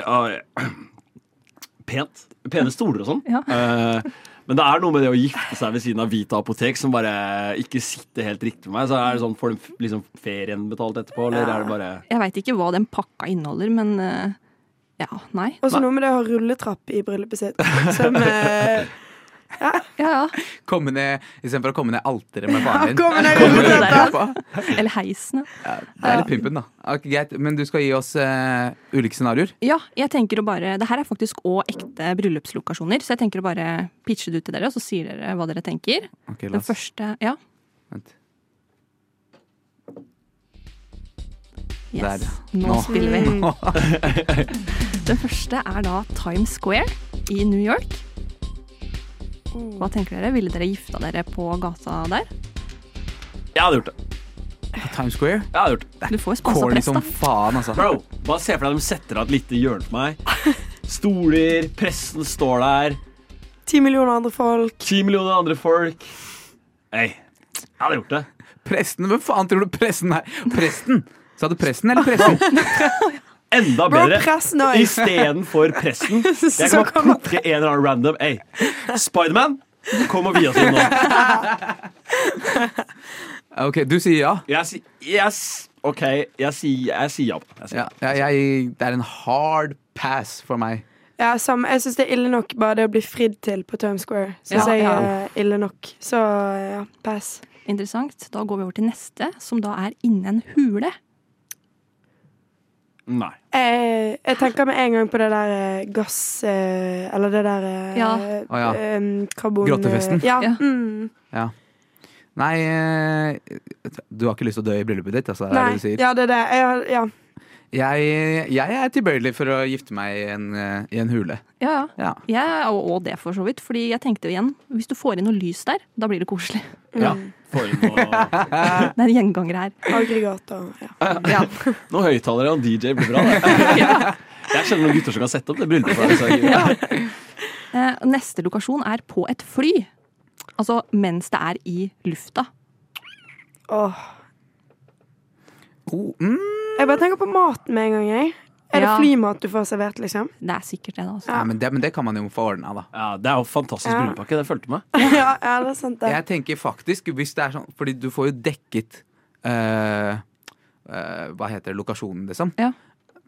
B: ah, pent. Pene stoler og sånn.
F: Ja.
B: Eh, men det er noe med det å gifte seg ved siden av Vita apotek som bare ikke sitter helt riktig med meg. Så er det sånn, Får de f- liksom ferien betalt etterpå, eller
F: Ja.
B: er det bare
F: Jeg veit ikke hva den pakka inneholder, men eh, ja, nei.
E: Og så noe med det å ha rulletrapp i bryllupet sitt. Som eh,
F: Ja,
C: Komme ned, Istedenfor å komme ned alteret med faren din.
E: komme ned i
C: Komme
E: rulletrappa.
F: Eller heisen.
C: Ja, det er litt pimpen, da. Ok, greit, men du skal gi oss eh, ulike scenarioer.
F: Ja, jeg tenker å bare Det her er faktisk òg ekte bryllupslokasjoner, så jeg tenker å bare pitche det ut til dere, og så sier dere hva dere tenker.
C: Ok, la
F: Den
C: oss-
F: første Ja.
C: Vent.
F: Yes.
C: Der.
F: Nå
C: Nå.
F: spiller vi.
C: Nå.
F: Den første er da Times Square i New York. Hva tenker dere? Ville dere gifta dere på gata der?
B: Jeg hadde gjort det.
C: Times Square?
B: Jeg hadde gjort det.
F: Du får jo sponsa
C: Corny
F: prest,
C: som
F: da.
C: faen, altså.
B: Bro, bare se for deg de setter av et lite hjørne for meg. Stoler, pressen står der,
E: Ti millioner andre folk.
B: ti millioner andre folk. Hey, jeg hadde gjort det.
C: Presten? Hvem faen tror du presten er? Presten? Sa du presten eller pressen?
B: Enda
E: Bro,
B: bedre.
E: pressen òg.
B: Istedenfor presten. Jeg
E: Så
B: kan bare plukke en eller annen random. Hey, Spiderman, kom og vie oss inn nå.
C: Ok, du sier ja.
B: Jeg sier yes. OK, jeg sier jeg sier ja. Jeg sier
C: ja, ja jeg, det er en hard pass for meg.
E: Ja, samme. Jeg syns det er ille nok bare det å bli fridd til på Times Square. Syns
F: Ja,
E: jeg
F: ja.
E: er eh, ille nok. Så ja, pass.
F: Interessant. Da går vi over til neste, som da er innen en hule.
B: Nei.
E: Jeg, jeg tenker med en gang på det der eh, gass... eh, Eller det der eh,
F: Ja.
C: Å, ja.
E: em, karbon...
C: Grottefesten.
E: Ja.
F: Ja.
E: Mm.
C: Ja. Nei, eh, du har ikke lyst til å dø i bryllupet ditt, altså?
E: Nei.
C: Er det du sier.
E: Ja, det er det. Jeg, har- ja.
C: Jeg, jeg er tilbøyelig for å gifte meg i en, eh, i en hule.
F: Ja, ja.
C: Ja.
F: Jeg er og det, for så vidt. Fordi jeg tenkte jo igjen, hvis du får inn noe lys der, da blir det koselig.
E: Mm.
B: Ja. Får inn noe,
F: Det er en gjenganger her.
E: Aggregat og
C: Eh.
E: ja.
B: noe høyttalere og en DJ blir bra. Det. Jeg kjenner noen gutter som kan sette opp det bryllupet. for deg, så jeg-
F: Eh, Neste lokasjon er på et fly. Altså mens det er i lufta.
E: Åh.
C: Oh, mm.
E: Jeg bare tenker på maten med en gang, jeg. Er det
F: Ja.
E: flymat du får servert, liksom?
F: Det er sikkert det, da. Altså.
C: Nei, men, det, men det kan man jo få ordna, da.
B: Ja, det er jo fantastisk
E: Ja.
B: brylluppakke. Det fulgte med.
E: ja, ja, det er sant, det.
C: Jeg tenker faktisk, hvis det er sånn Fordi du får jo dekket eh, eh, Hva heter det, lokasjonen, liksom.
F: Ja.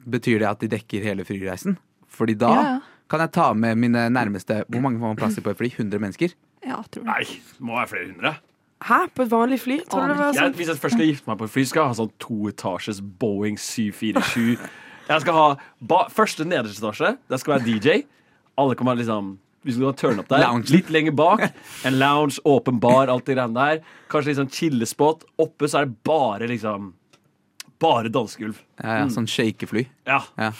C: Betyr det at de dekker hele flyreisen? Fordi da
F: Ja, ja.
C: kan jeg ta med mine nærmeste Hvor mange får man plass til på et fly? 100 mennesker?
F: Ja, tror det.
B: Nei, det må være flere hundre.
E: Hæ? På et vanlig fly? Tror du det var sånn?
B: Jeg, hvis jeg først skal gifte meg på et fly, skal jeg ha sånn toetasjes Boeing 747. Jeg skal ha ba, første nederste etasje. Der skal være DJ. Alle kan være liksom hvis du kan turne opp der,
C: Lounge.
B: Litt lenger bak. En lounge, åpen bar, alt det greiene der. Kanskje litt sånn chillespot. Oppe så er det bare liksom Bare dansegulv.
C: Ja, ja, sånn shakefly.
B: Ja.
C: Ja.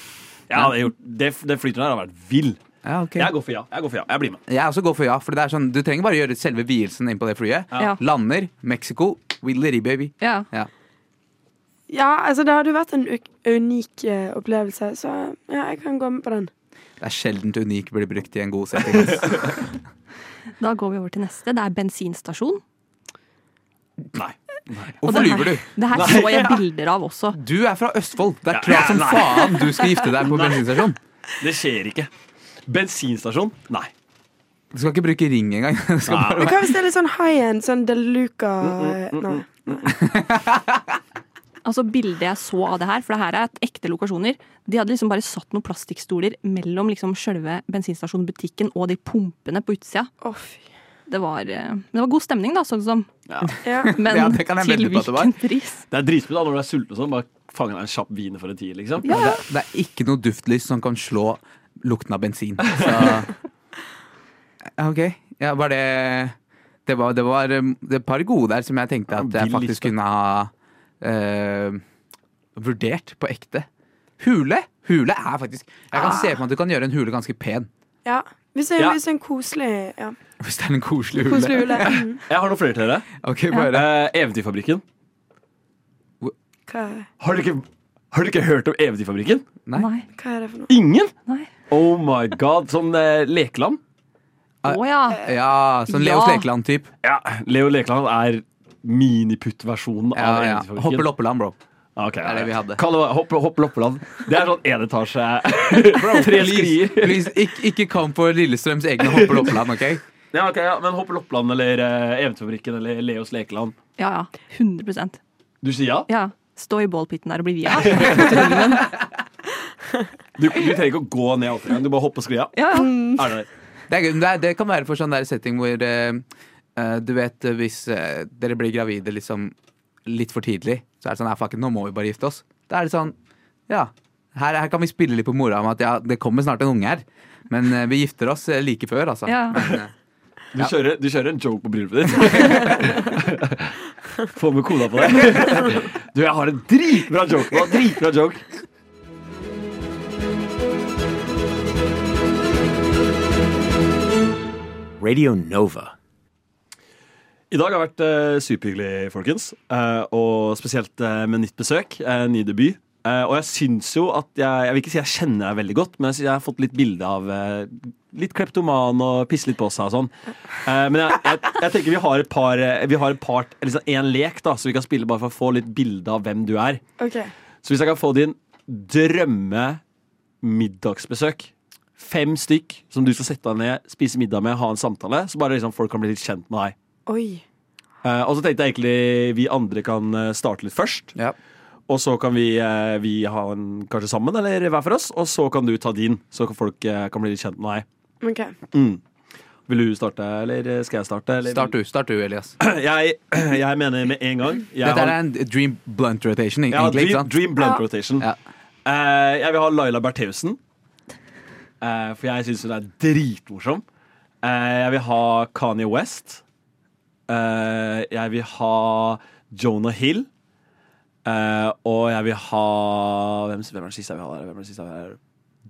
B: Jeg hadde gjort, det, den flyturen her har vært vill.
C: Ja, ok.
B: Jeg går for ja. Jeg går for ja. Jeg blir med.
C: Jeg også går for ja, for det er sånn, du trenger bare gjøre selve vielsen inn på det flyet.
F: Ja.
C: Lander, Mexico, Willery baby.
F: Ja.
C: Ja.
E: Ja, altså, det hadde jo vært en u- unik eh, opplevelse, så ja, jeg kan gå med på den.
C: Det er sjeldent unik blir brukt i en god setting. ass.
F: Da går vi over til neste. Det er bensinstasjon.
B: Nei.
F: Og
C: Hvorfor
F: det her-
C: lyver du?
F: Det her så jeg bilder av også.
C: Du er fra Østfold. Det er
B: Ja,
C: klart som
B: nei.
C: faen du skal gifte deg på bensinstasjon.
B: Det skjer ikke. Bensinstasjon? Nei.
C: Du skal ikke bruke ring engang. Du skal
B: Nei.
C: bare
E: Men hva hvis det er litt sånn high end, sånn eh, Deluca Nei.
F: Altså Bildet jeg så av det her, for det her er et ekte lokasjoner De hadde liksom bare satt noen plastikkstoler mellom liksom selve bensinstasjonen, butikken og de pumpene på utsida.
E: Å, fy.
F: Det var, eh, men det var god stemning, da, sånn som.
E: Ja.
F: Men
C: Ja, det kan jeg
F: til
C: vedde på at det var.
F: hvilken pris?
B: Det er dritspennende da, når du er sulten og sånn. Bare fange deg en kjapp wiener for en tier, liksom.
C: det, er- det er ikke noe duftlys som kan slå lukten av bensin. Så OK. Ja, var det Det var, det var um, det er et par gode der som jeg tenkte at jeg
B: Vill
C: faktisk
B: liste.
C: kunne ha eh, vurdert på ekte. Hule! Hule er faktisk Jeg kan se for meg at du kan gjøre en hule ganske pen.
E: ja. Hvis det er
B: Ja.
E: hvis det er en koselig ja.
C: Hvis det er en koselig hule.
E: Koselig hule. Mm.
B: Jeg har noen flere til dere.
C: Ok, bare
B: Eh, Eventyrfabrikken.
E: Hva,
B: Har dere ikke, har dere ikke hørt om Eventyrfabrikken?
C: Nei.
F: Nei.
E: hva er det for noe?
B: Ingen?
F: Nei.
B: Oh my god. Sånn eh, lekeland.
F: Å ja.
C: Ja, sånn Leos
F: Ja.
C: Lekeland-type.
B: Ja, Leo Lekeland er miniputt-versjonen
C: Ja,
B: av
C: ja.
B: Eventyrfabrikken.
C: Hoppeloppeland, bro.
B: Ah, ok,
C: er det vi hadde.
B: Kall det hva- hopp, hopp, loppeland. Det er sånn én etasje Tre
C: Please,
B: skrier.
C: please ikke, ikke kom for Lillestrøms egne hoppeloppeland, OK?
B: Ja, ok, ja, men Hopp Loppland eller eh, Eventyrfabrikken eller Leos lekeland.
F: Ja, ja. 100
B: Du sier ja?
F: Ja. Stå i bålpitten der og bli via.
B: Du, du trenger ikke å gå ned åtte gang, du bare hopper og sklir av.
F: Ja, ja.
B: Er det der?
C: Det, er, gøy, men det, er- det kan være for sånn der setting hvor eh, eh, du vet eh, hvis eh, dere blir gravide liksom litt for tidlig, så er det sånn "Ah, fuck it, nå må vi bare gifte oss. Da er det sånn ja, her, her kan vi spille litt på mora om at ja, det kommer snart en unge her, men eh, vi gifter oss eh, like før, altså.
F: Ja.
C: Men, eh,
B: Du, kjører, du kjører en joke på bryllupet ditt. Få med kona på det. Du, jeg har en dritbra joke nå. Dritbra joke.
G: Radio Nova.
B: I dag har vært eh, superhyggelig, folkens. Eh, og spesielt eh, med nytt besøk. eh, ny debut. Eh, og jeg syns jo at jeg Jeg vil ikke si jeg kjenner deg veldig godt, men jeg, syns jeg har fått litt bilde av eh, Litt kleptoman og pisse litt på seg og sånn. Eh, men jeg, jeg, jeg tenker vi har et par eh, Vi har et par, eller liksom en lek da, så vi kan spille bare for å få litt bilde av hvem du er.
E: OK.
B: Så hvis jeg kan få din drømme middagsbesøk Fem stykk som du skal sette deg ned, spise middag med, ha en samtale. Så bare liksom folk kan bli litt kjent med deg.
E: Oi.
B: Eh, og så tenkte jeg egentlig vi andre kan eh, starte litt først.
C: ja.
B: Og så kan vi, eh, vi ha en kanskje sammen, eller hver for oss. Og så kan du ta din, så kan folk eh, kan bli litt kjent med deg.
E: OK.
B: Vil du starte, eller eh, skal jeg starte? Eller?
C: Start du, start du, Elias.
B: Jeg, jeg mener med en gang. Jeg
C: Dette
B: har-
C: er en dream blunt rotation,
B: Ja,
C: egentlig.
B: Dream,
C: ikke sant?
B: dream Blunt Rotation.
C: Ja.
B: Eh, jeg vil ha Laila Bertheussen. eh, for jeg syns hun er dritmorsom. Eh, jeg vil ha Kanye West. Eh, jeg vil ha Jonah Hill. Eh, og jeg vil ha Hvem, hvem er den siste jeg vil ha der? Hvem er den siste jeg vil ha der?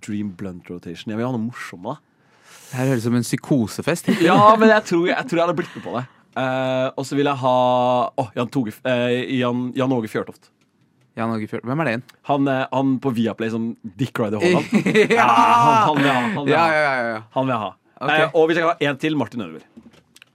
B: Dream Blunt Rotation. Jeg vil ha noe morsomt, da.
C: Det her høres ut som en psykosefest.
B: Ja, men jeg tror jeg, tror jeg hadde blitt med på det. Eh, og så vil jeg ha Åh, Jan, Toge, eh, Jan, Jan Åge Fjørtoft.
C: Jan Åge Fjord, hvem er det igjen?
B: Han, eh, han på Viaplay som Dick Ryder Haaland. ja! han, han vil jeg ha. Han vil jeg
C: Ja,
B: ha.
C: ja, ja, ja.
B: Han vil jeg ha.
C: Ok.
B: Eh, og hvis jeg kan ha én til, Martin Ødegaard.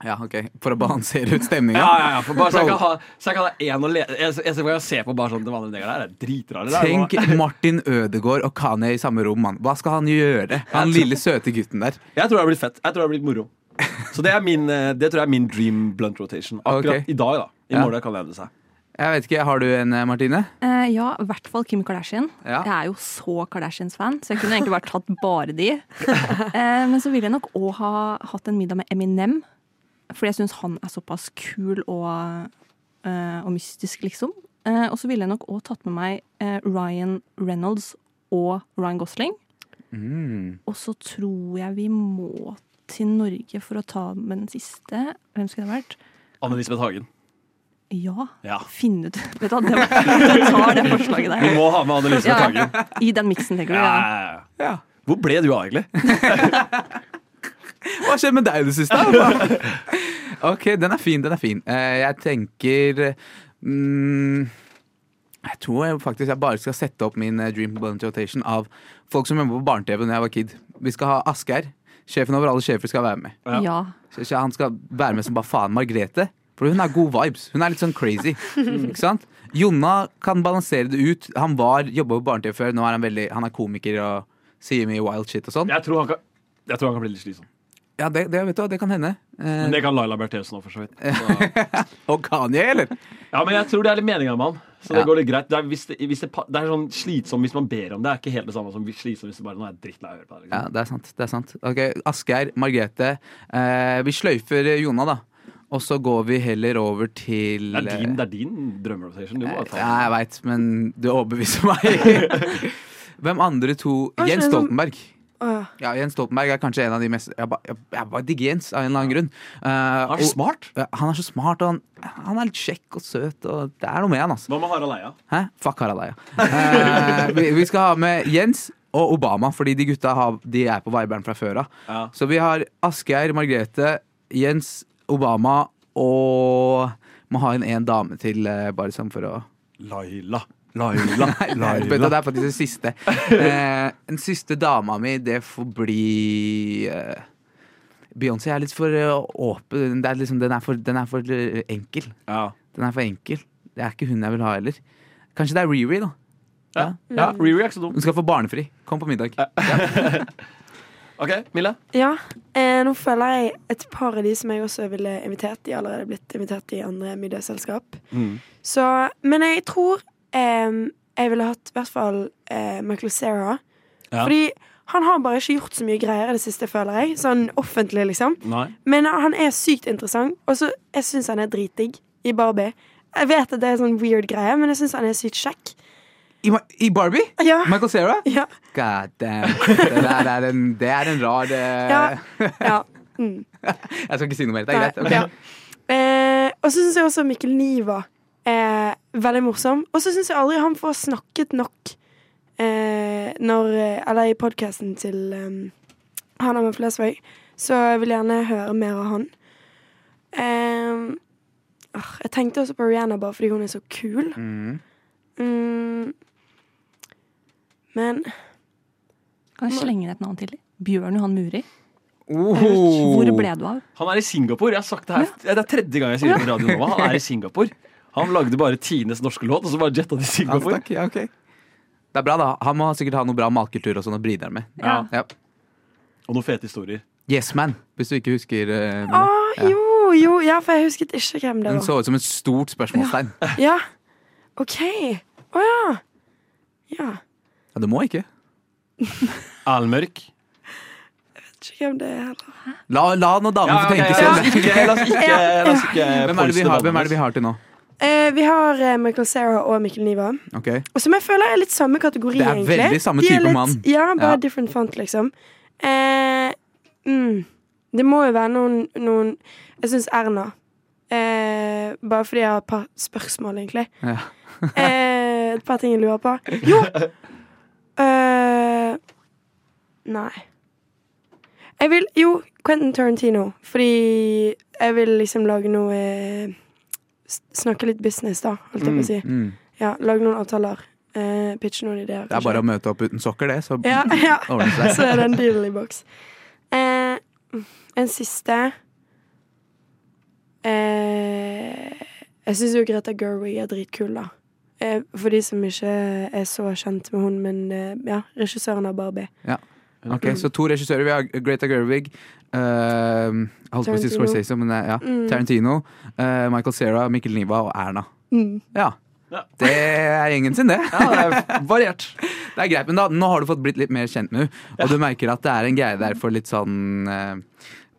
C: ja, ok. For å balansere ut stemninga.
B: Ja, ja, ja, for bare, sånn- så, jeg kan ha, så jeg kan ha én å le... Jeg, jeg, jeg, jeg ser på bare sånn den andre negeren der. Det er dritrare. det er jo-
C: Tenk Martin Ødegaard og Kanye i samme rom, mann. Hva skal han gjøre? Han lille søte gutten der.
B: Jeg tror det har blitt fett. Jeg tror det har blitt moro. Så det, er min, eh, det tror jeg er min dream blunt rotation. Akkurat
C: Ok.
B: i dag, da. I
C: Ja.
B: morgen kan det endre seg.
C: Jeg vet ikke, Har du en, eh, Martine?
F: Eh, ja, i hvert fall Kim Kardashian.
C: Ja.
F: Jeg er jo så Kardashians-fan, så jeg kunne egentlig bare tatt bare de. Eh, men så ville jeg nok òg ha hatt en middag med Eminem, fordi jeg syns han er såpass kul og, eh, og mystisk, liksom. Eh, og så ville jeg nok òg tatt med meg eh, Ryan Reynolds og Ryan Gosling. Og så tror jeg vi må til Norge for å ta med den siste. Hvem skulle det ha vært?
B: Anne Elisabeth Hagen.
F: Ja,
B: Ja.
F: finne ut Vet du hva, det var- jeg tar det forslaget der.
B: Vi må ha med Anne Elisabeth
F: Ja,
B: Hagen.
F: I den miksen, tenker du?
B: Ja,
F: Ja.
B: ja, ja. Hvor ble du av, egentlig?
C: Hva har skjedd med deg i det siste? Hva- ok, den er fin, den er fin. Eh, Jeg tenker mm, Jeg tror jeg faktisk jeg bare skal sette opp min eh, Dream Blunt Rotation av folk som jobber på barne-TV da jeg var kid. Vi skal ha Asgeir. Sjefen over alle sjefer skal være med.
B: Ja.
F: ja.
C: Så- så Han skal være med som bare faen Margrethe. For hun er god vibes. Hun er litt sånn crazy. Ikke sant? Jonna kan balansere det ut. Han var, jobba på barne-TV før. Nå er han, veldig, han er komiker og sier mye wild shit og sånn.
B: Jeg tror han kan, jeg tror han kan bli litt slitsom.
C: Ja, det, det, vet du, hva, det kan hende. Eh,
B: Men det kan Laila Bertheussen òg, for så vidt. Så.
C: og Kanye, eller?
B: Ja, men jeg tror det er litt meninga med han. Så det
C: Ja.
B: går litt greit. Det er, hvis det, hvis det, pa- det er sånn slitsom hvis man ber om det. Det er ikke helt det samme som slitsom hvis du bare Nå er jeg drittlei av å høre på det.
C: Ja,
B: Liksom.
C: det er sant. det er sant Ok, Asgeir, Margrethe. Eh, vi sløyfer Jona, da. Og så går vi heller over til eh,
B: Det, Eh, er din, det er din drømmerotation. Du må bare ta
C: Ja,
B: den.
C: jeg veit, men du overbeviser meg. Hvem andre to?
E: Kanskje
C: Jens
E: en sånn-
C: Stoltenberg.
E: Åh,
C: Ja, Jens Stoltenberg er kanskje en av de mest Jeg ba- jeg- jeg bare digger Jens av en eller annen grunn. Eh,
B: Han er så
C: og-
B: smart.
C: Ja, han er så smart, og han, han er litt kjekk og søt, og det er noe med han, altså.
B: Hva med Harald Eia?
C: Hæ? Fuck Harald Eia. Eh, vi, vi skal ha med Jens og Obama, fordi de gutta har, de er på viberen fra før av.
B: Ja.
C: Så vi har Asgeir, Margrethe, Jens, Obama og Må ha inn en dame til, eh, bare sånn for å
B: Laila. Laila.
C: Vet du, Det er faktisk den siste. Eh, den siste dama mi, det får bli eh, Beyoncé er litt for eh, åpen. Det er liksom, den, er for, den er for eh, enkel.
B: Ja.
C: Den er for enkel. Det er ikke hun jeg vil ha heller. Kanskje det er Riri, da.
B: Ja. ja. Riri er ikke så dum.
C: Hun skal få barnefri. Kom på
B: Eh.
C: middag.
B: OK, Mille.
E: Ja. Eh, nå føler jeg et par av de som jeg også ville invitert. De har allerede blitt invitert i andre middagsselskap.
B: Mm.
E: Så, men jeg tror eh, jeg ville hatt i hvert fall eh, Michael Cera.
B: Ja.
E: Fordi han har bare ikke gjort så mye greier i det siste, føler jeg. Sånn offentlig, liksom.
B: Nei.
E: Men han er sykt interessant. Og så jeg syns han er dritdigg i Barbie. Jeg vet at det er sånn weird greie, men jeg syns han er sykt kjekk.
C: I, Ma- i Barbie?
E: Ja.
C: Michael Cera?
E: Ja.
C: God damn. Det, der er en, det er en rar eh,
E: ja. ja. Mm.
C: Jeg skal ikke si noe mer. Det er greit.
E: Nei,
C: ok.
E: ja. Eh, og så syns jeg også Mikkel Niva er veldig morsom. Og så syns jeg aldri han får snakket nok eh, når Eller i podkasten til eh, han Amund Flesvig. Så jeg vil gjerne høre mer av han. Eh, åh, jeg tenkte også på Rihanna bare fordi hun er så kul.
C: Mhm.
E: Mm. Men
F: Kan jeg slenge ned et navn til? Bjørn Johan Muri.
C: Oh.
F: Hvor ble du av?
B: Han er i Singapore. Jeg har sagt Det her Det er tredje gang jeg sier det på Radio Nova. Han er i Singapore. Han lagde bare Tines norske låt, og så bare jetta til
C: Ja,
B: Singapore.
C: takk. Ja, ok. Det er bra, da. Han må sikkert ha noe bra matkultur og sånn å bryte med.
B: Ja.
C: Ja.
B: Og noen fete historier.
C: Yes Man, hvis du ikke husker. eh,
E: Å,
C: Mina.
E: jo, jo! Ja, for jeg husket ikke hvem det
C: Hun
E: var.
C: så ut som et stort spørsmålstegn. Ja.
E: Ja. OK. Å ja. Ja.
C: Du må ikke.
B: Almørk.
E: Vet ikke hvem det er heller.
C: La, la nå damen
B: Ja,
C: få
B: ok,
C: tenke
B: la
C: selv.
B: oss ikke, la oss ikke, la oss ikke
C: Hvem er, det vi har, hvem er det vi har til nå?
E: Eh, vi har eh, Michael Cera og Mikkel Niva.
C: Ok,
E: Og som jeg føler er litt samme kategori,
C: Det er
E: egentlig.
C: veldig samme
E: De er
C: type
E: litt-
C: mann.
E: Ja, bare
C: Ja.
E: different font, liksom. Eh, mm, det må jo være noen, noen Jeg syns Erna. Eh, bare fordi jeg har et par spørsmål, egentlig.
C: Ja.
E: eh, et par ting jeg lurer på. Jo! Eh, nei. Jeg vil Jo, Quentin Tarantino. Fordi jeg vil liksom lage noe eh, s- Snakke litt business, da, holdt jeg på å si.
C: Mm.
E: Ja, lag noen avtaler. Eh, pitch noen ideer.
C: Det er bare å møte opp uten sokker, det. Så
E: ja, ja.
C: ordner det seg.
E: Så er det en deal i boks. Eh, en siste eh, Jeg syns jo Greta Gerwig er dritkul, da. Eh, for de som ikke er så kjent med hun, men eh, ja, regissøren av Barbie.
C: Ok, så to regissører. Vi har Greta Gerwig. Uh, holdt på å si
E: Tarantino.
C: Scorsese, men eh, ja.
E: Mm.
C: Tarantino. eh, Michael Cera, Mikkel Niva og Erna.
E: Mm.
C: Ja.
B: Ja.
C: Det er gjengen sin, det.
B: Ja, det er variert.
C: Det er greit, men da, nå har du fått blitt litt mer kjent med henne. Og du merker at det er en greie der for litt sånn eh,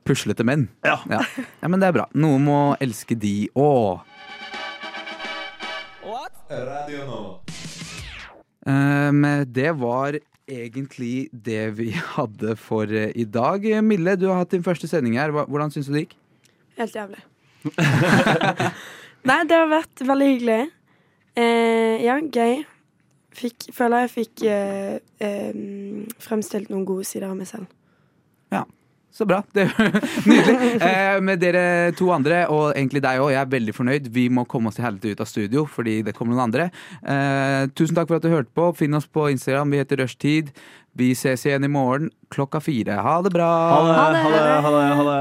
C: puslete menn.
B: Ja.
C: Ja. ja, men det er bra. Noen må elske de òg. Um, det var egentlig det vi hadde for eh, i dag. Mille, du har hatt din første sending her. Hva- Hvordan syns du det gikk?
E: Helt jævlig. Nei, det har vært veldig hyggelig. Eh, ja, gøy. Fikk, føler jeg fikk eh, eh, fremstilt noen gode sider av meg selv.
C: Så bra. Det, nydelig. Eh, med dere to andre, og egentlig deg òg, jeg er veldig fornøyd. Vi må komme oss til helvete ut av studio, fordi det kommer noen andre. Eh, tusen takk for at du hørte på. Finn oss på Instagram. Vi heter Rushtid. Vi ses igjen i morgen klokka fire. Ha det bra.
B: Ha det, ha det, ha det. Ha det.